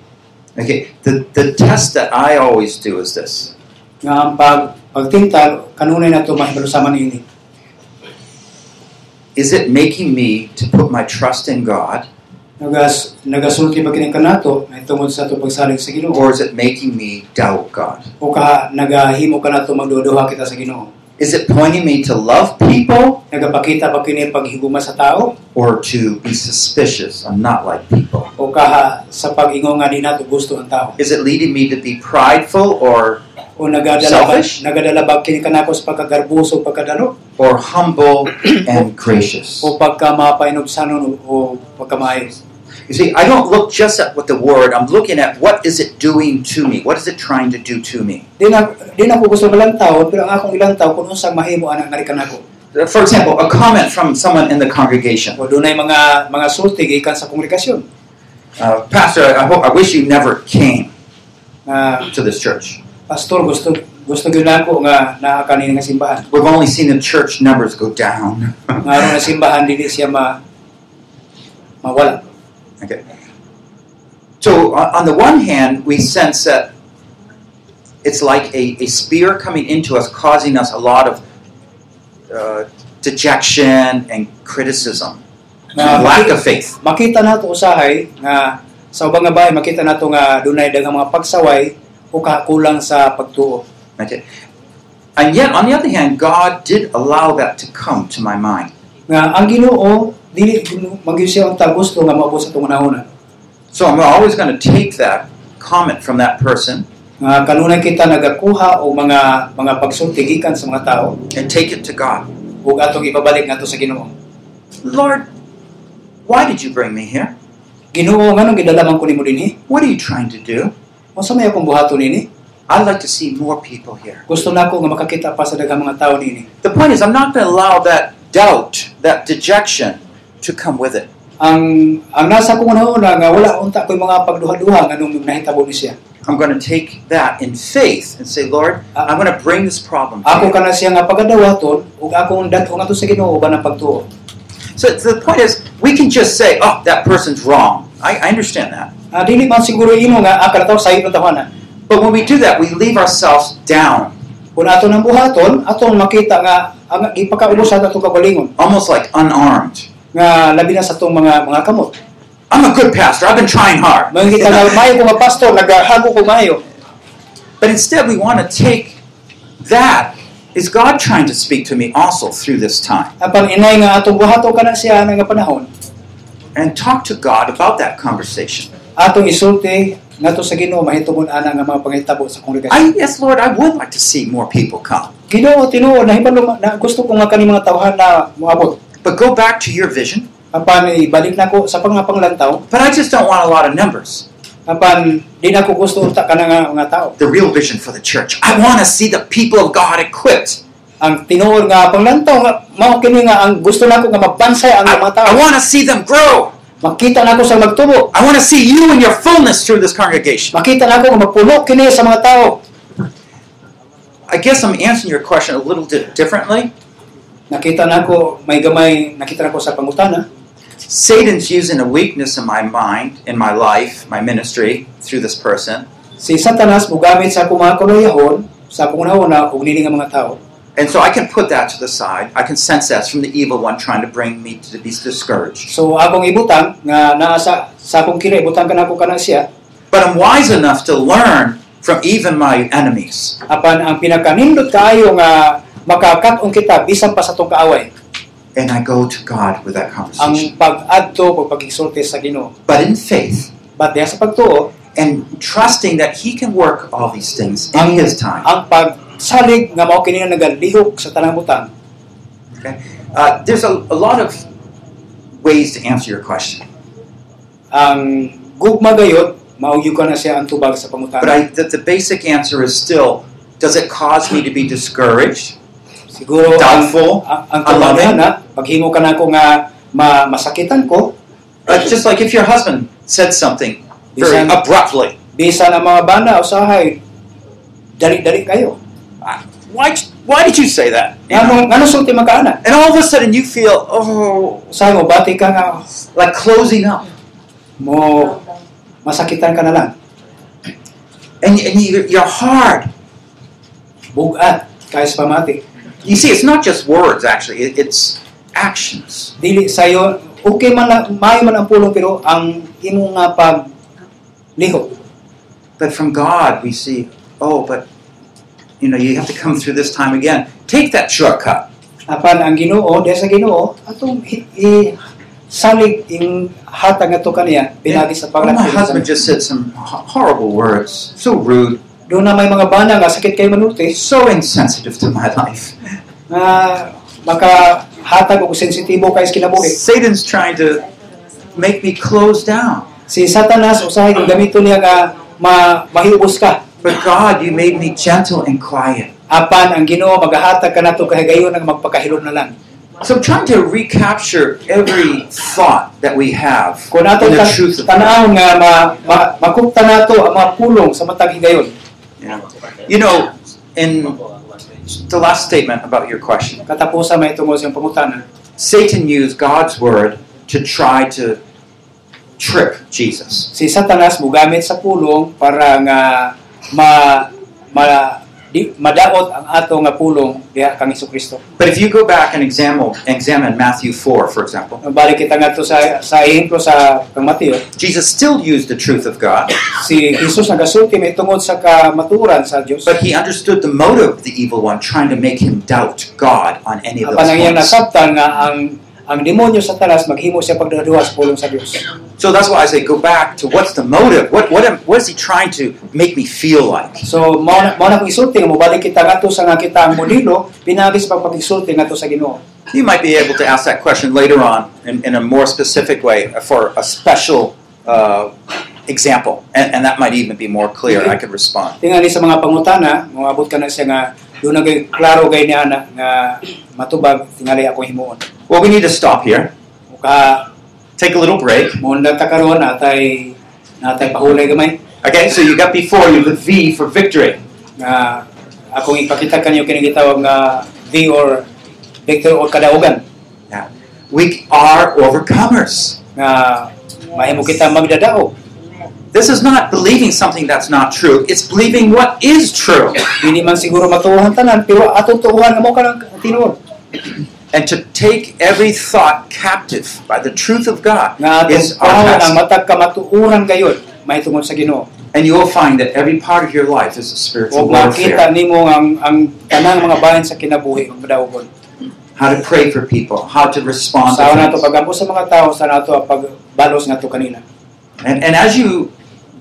Speaker 1: Okay, the, the test that I always do is this
Speaker 2: nga ang pag pagtintal kanunay na to mahibalo sa manini
Speaker 1: Is it making me to put my trust in God,
Speaker 2: nagas nagasulti ba kining kanato na tungod sa atong pagsalig sa Ginoo
Speaker 1: or is it making me doubt God?
Speaker 2: o ka nagahimo kanato magduduha kita sa Ginoo
Speaker 1: Is it pointing me to love people
Speaker 2: nagapakita ba kini paghigugma sa tao
Speaker 1: or to be suspicious? I'm not like people.
Speaker 2: o kaha sa pag-ingo nga di nato gusto ang tao
Speaker 1: Is it leading me to be prideful or,
Speaker 2: o nagadala ba,
Speaker 1: Selfish?
Speaker 2: nagadala ba kini kanako sa pagkagarbuso pagkadalo
Speaker 1: or humble and gracious?
Speaker 2: o pagka mapainobsanon o, o pagkamaayos
Speaker 1: You see, I don't look just at what the word, I'm looking at what is it doing to me? What is it trying to do to me?
Speaker 2: di na di na ko gusto malang tao pero ang akong ilang tao kung unsang mahimo anak nga kanako
Speaker 1: For example, a comment from someone in the congregation.
Speaker 2: o dunay mga mga sulti gikan sa kongregasyon
Speaker 1: Uh, Pastor, I, hope, I wish you never came
Speaker 2: nga
Speaker 1: to this church.
Speaker 2: pastor gusto gusto gyud ako nga naa kanina nga simbahan
Speaker 1: We've only seen the church numbers go down.
Speaker 2: nga aron nga simbahan dili siya ma mawala
Speaker 1: so, on on the one hand, we sense that it's like a, a spear coming into us, causing us a lot of uh, dejection and criticism,
Speaker 2: nga
Speaker 1: lack of faith.
Speaker 2: makita nato usahay nga sa ubang nga bahay makita nato nga dunay daghang mga pagsaway o kakulang sa pagtuo
Speaker 1: Okay. And yet, on the other hand, God did allow that to come to my mind.
Speaker 2: nga ang Ginoo dili magyo siya ang gusto nga maubos atong unahuna
Speaker 1: So I'm always going to take that comment from that person
Speaker 2: nga kanunay kita nagakuha o mga mga pagsulti gikan sa mga tao
Speaker 1: and take it to God.
Speaker 2: ug atong ipabalik nato sa Ginoo
Speaker 1: Lord, why did you bring me here?
Speaker 2: Ginoo nganong gidalaman ko nimo dinhi
Speaker 1: What are you trying to do?
Speaker 2: unsa may akong buhaton nini
Speaker 1: I'd like to see more people here.
Speaker 2: Gusto na ako nga makakita pa sa daghang mga tao nini.
Speaker 1: The point is, I'm not going to allow that doubt, that dejection, to come with it.
Speaker 2: Ang ang nasa ko na una nga wala unta ko'y mga pagduha-duha nga nung nahitabo ni siya.
Speaker 1: I'm going to take that in faith and say, Lord, I'm going to bring this problem. to you.
Speaker 2: Ako kana siya nga pagadawaton ug akong datong ato sa Ginoo uban ang pagtuo.
Speaker 1: So so the point is, we can just say, oh, that person's wrong. I, I understand that.
Speaker 2: Ah dili man siguro imo nga akala taw sayo tawana.
Speaker 1: But when we do that, we leave ourselves down,
Speaker 2: Kun ato nang buhaton, atong makita nga ang ipakaubos sa atong kagalingon
Speaker 1: almost like unarmed.
Speaker 2: nga labi na sa atong mga mga kamot.
Speaker 1: I'm a good pastor. I've been trying hard.
Speaker 2: Mangita nga mayo ko nga pastor nagahago ko mayo.
Speaker 1: But instead, we want to take That is God trying to speak to me also through this time.
Speaker 2: Ang pag-inay nga atong buhato kana siya nga panahon,
Speaker 1: And talk to God about that conversation.
Speaker 2: atong isulti ngadto sa Ginoo mahitungod ana nga mga pangitabo sa
Speaker 1: I,
Speaker 2: kongregasyon.
Speaker 1: yes, Lord, I would like to see more people come.
Speaker 2: Ginoo tinuod nahibalo na gusto ko nga kani mga nah, tawhan na moabot.
Speaker 1: But go back to your vision.
Speaker 2: Apan ibalik nako sa pangapanglantaw,
Speaker 1: But I just don't want a lot of numbers.
Speaker 2: apan di na ko gusto unta kana nga mga tao.
Speaker 1: The real vision for the church. I want to see the people of God equipped.
Speaker 2: Ang tinuod nga panglantaw nga mao kini nga ang gusto nako nga magpansay ang
Speaker 1: I,
Speaker 2: mga tao.
Speaker 1: I want to see them grow.
Speaker 2: Makita nako sa magtubo.
Speaker 1: I want to see you in your fullness through this congregation.
Speaker 2: Makita nako nga mapuno kini sa mga tao.
Speaker 1: I guess I'm answering your question a little di- differently.
Speaker 2: Nakita nako may gamay nakita nako sa pangutana.
Speaker 1: Satan's using a weakness in my mind, in my life, my ministry, through this person.
Speaker 2: Si Satanas mugamit sa akong mga kuluyahon sa akong una ug nini nga mga tao.
Speaker 1: And so I can put that to the side. I can sense that's from the evil one trying to bring me to be discouraged.
Speaker 2: So akong ibutang nga naa sa sa akong kira ibutang kana ko kana siya
Speaker 1: But I'm wise enough to learn from even my enemies.
Speaker 2: apan ang pinakanindot kaayo nga makakatong kita bisan pa sa tong kaaway
Speaker 1: And I go to God with that
Speaker 2: ang
Speaker 1: conversation.
Speaker 2: pag-adto o pag-exulti sa Ginoo.
Speaker 1: but in faith
Speaker 2: But diha sa pagtuo
Speaker 1: and trusting that He can work all these things in His time.
Speaker 2: ang pagsalig nga mao kini nga nagalihok sa tanang butang.
Speaker 1: Uh, there's a, a lot of ways to answer your question.
Speaker 2: Ang gugma gayod maugyo ka na siya ang tubag sa
Speaker 1: But
Speaker 2: pangutana.
Speaker 1: I, the, the basic answer is still does it cause me to be discouraged,
Speaker 2: Siguro ang
Speaker 1: doubtful?
Speaker 2: ang, ang
Speaker 1: Ang
Speaker 2: tubag
Speaker 1: lamin?
Speaker 2: na paghimo ka nako nga ma, masakitan ko
Speaker 1: Uh, just like if your husband said something very
Speaker 2: bisan
Speaker 1: abruptly.
Speaker 2: bisan ang mga bana usahay dali-dali kayo.
Speaker 1: why, why did you say that? You know?
Speaker 2: Ano ano sulti makaana?
Speaker 1: And all of a sudden you feel, oh,
Speaker 2: Sa mo bati ka nga
Speaker 1: like closing up.
Speaker 2: mo masakitan ka na lang.
Speaker 1: And, and you, you're hard.
Speaker 2: Bugat kaysa pamati.
Speaker 1: You see, it's not just words, actually, it, it's actions.
Speaker 2: Dili sayo okay man na, may man ang pulong pero ang imo nga pag liho.
Speaker 1: But from God, we see, oh, but you know, you have to come through this time again. Take that shortcut.
Speaker 2: Apan ang Ginoo, dahil sa Ginoo atong i, i- salig ing hatag nga to kaniya pinagi sa
Speaker 1: Oh, my
Speaker 2: paglakas.
Speaker 1: husband just said some ho- horrible words. So rude,
Speaker 2: Do na may mga bana nga sakit kay manulti
Speaker 1: so insensitive to my life.
Speaker 2: nga maka hatag og sensitibo kay sa kinabuhi.
Speaker 1: Satan's trying to make me close down.
Speaker 2: Si Satanas usahay kung gamito niya nga ma, mahiubos ka
Speaker 1: But God, you made me gentle and quiet.
Speaker 2: apan ang Ginoo maghahatag ka nato kahigayon ang magpakahilom na lang.
Speaker 1: So I'm trying to recapture every thought that we have
Speaker 2: Kung nato
Speaker 1: in the
Speaker 2: ta-
Speaker 1: truth of God.
Speaker 2: tanawon nga ma, ma, makupta nato ang mga pulong sa matag higayon.
Speaker 1: You know, in the last statement about your question,
Speaker 2: Katapusan may tungo siyang pangutana.
Speaker 1: Satan used God's word to try to trip Jesus.
Speaker 2: Si Satanas mugamit sa pulong para nga ma, ma di, madaot ang ato nga pulong diha kang Hesukristo.
Speaker 1: But if you go back and examine, examine Matthew 4, for example,
Speaker 2: Balik kita nga to sa sa ehemplo sa kang Mateo.
Speaker 1: Jesus still used the truth of God,
Speaker 2: Si Jesus nagasulti may tungod sa kamaturan sa Dios.
Speaker 1: but he understood the motive of the evil one trying to make him doubt God on any of
Speaker 2: Apan ang iyang
Speaker 1: those points.
Speaker 2: nasabtan nga ang ang demonyo sa talas maghimo siya pagdaduha sa pulong sa Dios.
Speaker 1: So that's why I say go back to what's the motive? What, what, am, what is he trying to make me feel like?
Speaker 2: So mao na mao na kong isulti nga mobalik kita ngadto sa nga kita ang modelo pinagi sa pagpag-isulti ngadto sa Ginoo.
Speaker 1: You might be able to ask that question later on in, in a more specific way for a special uh, example, and, and that might even be more clear. I could respond.
Speaker 2: Tingali sa mga pangutana, moabot ka na siya nga doon nagay klaro gay niya na nga matubag tingali ako himuon.
Speaker 1: Well, we need to stop here,
Speaker 2: O ka
Speaker 1: take a little break.
Speaker 2: mo na ta karon atay natay pahulay gamay
Speaker 1: Okay, so you got before you the V for victory.
Speaker 2: nga akong ipakita kanyo kini gitawag nga V or Victor or kadaogan
Speaker 1: We are overcomers.
Speaker 2: nga mahimo kita magdadao.
Speaker 1: This is not believing something that's not true. It's believing what is true,
Speaker 2: Hindi man siguro matuuhan tanan pero atong tuuhan nga mo ka ng tinuod.
Speaker 1: and to take every thought captive by the truth of God
Speaker 2: nga atong
Speaker 1: is our
Speaker 2: panahon ang
Speaker 1: task.
Speaker 2: matag kamatuuran gayon mahitungod sa Ginoo.
Speaker 1: And you will find that every part of your life is a spiritual
Speaker 2: Ug
Speaker 1: warfare.
Speaker 2: makita nimo ang ang tanang mga bahin sa kinabuhi magpadaugon.
Speaker 1: How to pray for people, how to respond
Speaker 2: Sa
Speaker 1: to
Speaker 2: nato
Speaker 1: things.
Speaker 2: pagampo sa mga tao sa nato ang pagbalos nato kanila.
Speaker 1: And, and as you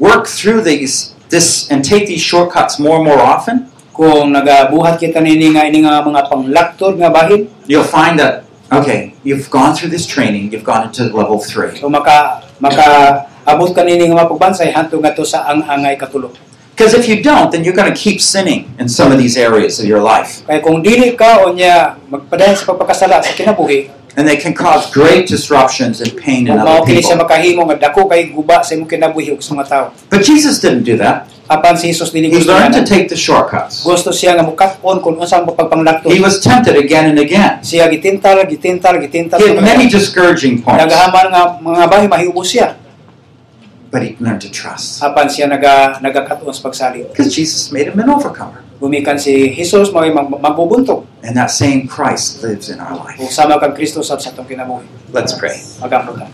Speaker 1: work through these this and take these shortcuts more and more often,
Speaker 2: Kung nagabuhat kita nini nga ini nga mga panglaktod nga bahin,
Speaker 1: you'll find that okay, you've gone through this training, you've gone into level three.
Speaker 2: so maka maka abot ka nini nga mapagbansay hantong nato sa ang angay katulo.
Speaker 1: Because if you don't, then you're going to keep sinning in some of these areas of your life,
Speaker 2: Kaya kung dili ka o niya magpadayon sa pagpakasala sa kinabuhi,
Speaker 1: and they can cause great disruptions and pain in
Speaker 2: mao
Speaker 1: other
Speaker 2: kini siya
Speaker 1: people.
Speaker 2: makahimo nga dako kay guba sa imong kinabuhi ug sa mga tao.
Speaker 1: But Jesus didn't do that.
Speaker 2: Apan si Jesus dili
Speaker 1: He
Speaker 2: gusto
Speaker 1: learned to
Speaker 2: niya.
Speaker 1: take the shortcuts.
Speaker 2: Gusto siya nga mukat-on kung unsa ang
Speaker 1: He
Speaker 2: pagpanglakto.
Speaker 1: was tempted again and again.
Speaker 2: Siya gitintal, gitintal, gitintal.
Speaker 1: He had many discouraging points,
Speaker 2: Nagahaman nga mga bahay mahiubos siya.
Speaker 1: but he learned to trust
Speaker 2: Apan siya naga nagakat-on sa pagsalig.
Speaker 1: because Jesus made him an overcomer.
Speaker 2: Gumikan si Jesus mao magbubuntog.
Speaker 1: And that same Christ lives in our life.
Speaker 2: Kung sama kang Kristo sab sa atong kinabuhi.
Speaker 1: Let's pray.
Speaker 2: Magampo ta.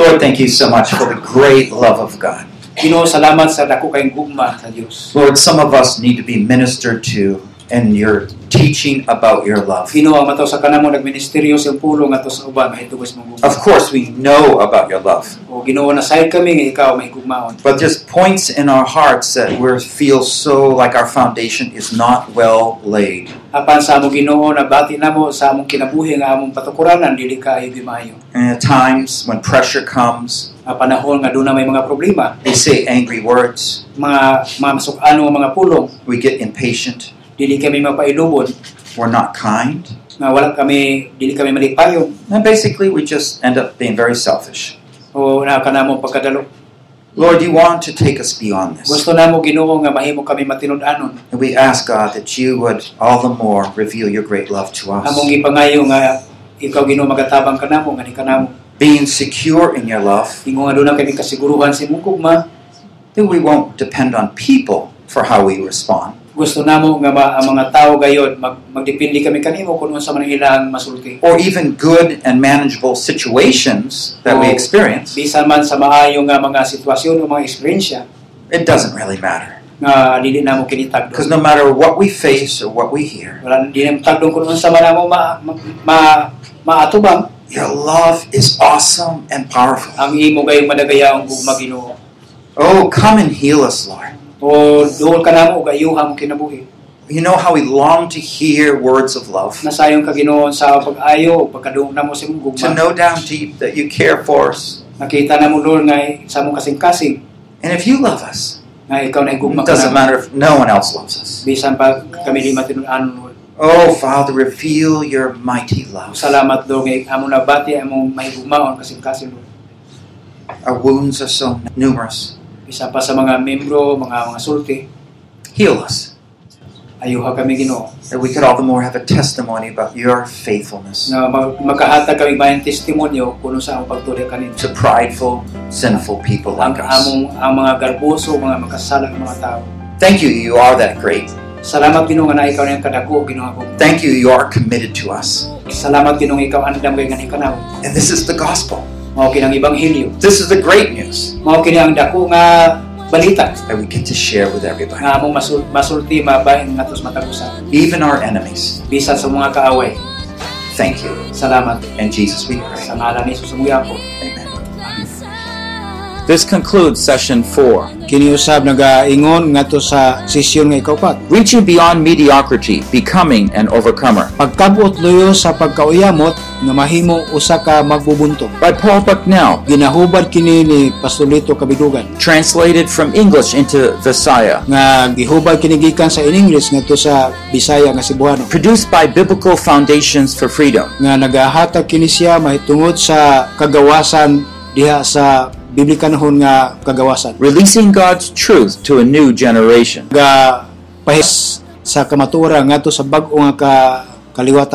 Speaker 1: Lord, thank you so much for the great love of God.
Speaker 2: Ginoo salamat sa dako kayong gugma sa Dios.
Speaker 1: Lord, some of us need to be ministered to and your teaching about your love.
Speaker 2: Ginoo ang mataw sa kanamo nagministeryo sa pulo nga sa uban mahitugos mong
Speaker 1: Of
Speaker 2: gugma.
Speaker 1: course, we know about your love,
Speaker 2: O Ginoo na say kami nga ikaw may gugmaon.
Speaker 1: but there's points in our hearts that we feel so like our foundation is not well laid.
Speaker 2: Apan sa among Ginoo nabati namo sa among kinabuhi nga among patukuranan dili kaayo gimayo.
Speaker 1: And at times, when pressure comes,
Speaker 2: Ang panahon nga doon na may mga problema,
Speaker 1: we say angry words,
Speaker 2: mga mga masuk-ano nga mga pulong,
Speaker 1: we get impatient,
Speaker 2: dili kami mapailubon
Speaker 1: we're not kind,
Speaker 2: nga wala kami dili kami malipayon
Speaker 1: and basically we just end up being very selfish.
Speaker 2: o na kanamo pagkadalo.
Speaker 1: Lord, you want to take us beyond this.
Speaker 2: Gusto namo Ginoo nga mahimo kami matinud-anon.
Speaker 1: And we ask, God, that you would all the more reveal your great love to us.
Speaker 2: Among ipangayo nga ikaw Ginoo magatabang kanamo nga ni kanamo.
Speaker 1: Being secure in your love,
Speaker 2: Ingo nga doon na kami kasiguruhan sa imong gugma.
Speaker 1: that we won't depend on people for how we respond,
Speaker 2: Gusto namo nga ma, ang mga tao gayod mag, magdepende kami kanimo kung unsa man ang ilang masulti.
Speaker 1: or even good and manageable situations that we
Speaker 2: Oh.
Speaker 1: experience.
Speaker 2: Bisan man sa maayo nga mga sitwasyon o mga eksperyensya
Speaker 1: It doesn't really matter.
Speaker 2: nga dili namo kinitagdo.
Speaker 1: Because no matter what we face or what we hear,
Speaker 2: wala di na tagdong kung unsa man amo ma, ma, ma maatubang
Speaker 1: your love is awesome and powerful.
Speaker 2: ang imo gayong madagayaong gugma Ginoo
Speaker 1: Oh, come and heal us, Lord.
Speaker 2: o duol ka namo og ayuha mo kinabuhi
Speaker 1: You know how we long to hear words of love,
Speaker 2: nasayon ka Ginoo sa pag-ayo o pagkadungog namo sa imong
Speaker 1: to
Speaker 2: gugma
Speaker 1: know down deep that you care for us.
Speaker 2: nakita namo Lord nga sa among kasing-kasing
Speaker 1: And if you love us,
Speaker 2: nga ikaw na gugma
Speaker 1: It
Speaker 2: ka
Speaker 1: doesn't
Speaker 2: namo
Speaker 1: matter if no one else loves us.
Speaker 2: bisan pa kami di matinud-anon Lord
Speaker 1: Oh, Father, reveal your mighty love.
Speaker 2: salamat Lord nga amo nabati amo mahigugmaon kasing-kasing Lord
Speaker 1: Our wounds are so numerous.
Speaker 2: bisan pa sa mga membro mga mga sulti
Speaker 1: Heal us,
Speaker 2: ayuha kami Ginoo
Speaker 1: that we could all the more have a testimony about your faithfulness
Speaker 2: nga mag- magkahatag kami bayan testimonyo kuno sa among pagtuli kanimo
Speaker 1: to prideful, sinful people
Speaker 2: ang
Speaker 1: like us.
Speaker 2: among ang mga garboso, mga makasalang mga tao.
Speaker 1: Thank you, you are that great.
Speaker 2: Salamat Ginoo nga na ikaw na yung kadako, Ginoo ako.
Speaker 1: Thank you, you are committed to us.
Speaker 2: Salamat Ginoo nga ikaw andam kay ganay kanaw.
Speaker 1: And this is the gospel.
Speaker 2: Mao kini ang ebanghelyo.
Speaker 1: This is the great news
Speaker 2: Mao kini ang dako nga balita
Speaker 1: that we get to share with everybody,
Speaker 2: nga among masul masulti mabahin nga tos matagusan
Speaker 1: even our enemies.
Speaker 2: bisan sa mga kaaway.
Speaker 1: Thank you.
Speaker 2: Salamat
Speaker 1: And Jesus, we
Speaker 2: sa
Speaker 1: pray.
Speaker 2: ngalan ni Jesus umuya ko.
Speaker 1: Amen. This concludes session four.
Speaker 2: Kini usab nagaingon ngadto sa sesyon nga ikaw
Speaker 1: Reaching beyond mediocrity, becoming an overcomer.
Speaker 2: Pagkabot luyo sa pagkauyamot nga mahimo usa ka magbubuntog.
Speaker 1: by Paul Bucknell,
Speaker 2: Ginahubad kini ni Pastolito Kabidugan.
Speaker 1: translated from English into Visaya.
Speaker 2: nga gihubad kini gikan sa in English ngadto sa Bisaya nga Cebuano
Speaker 1: Produced by Biblical Foundations for Freedom.
Speaker 2: nga nagahatag kini siya mahitungod sa kagawasan diha sa biblikanhon nga kagawasan
Speaker 1: Releasing God's truth to a new generation.
Speaker 2: nga pahis sa kamatura ngadto sa bag-o nga ka, kaliwatan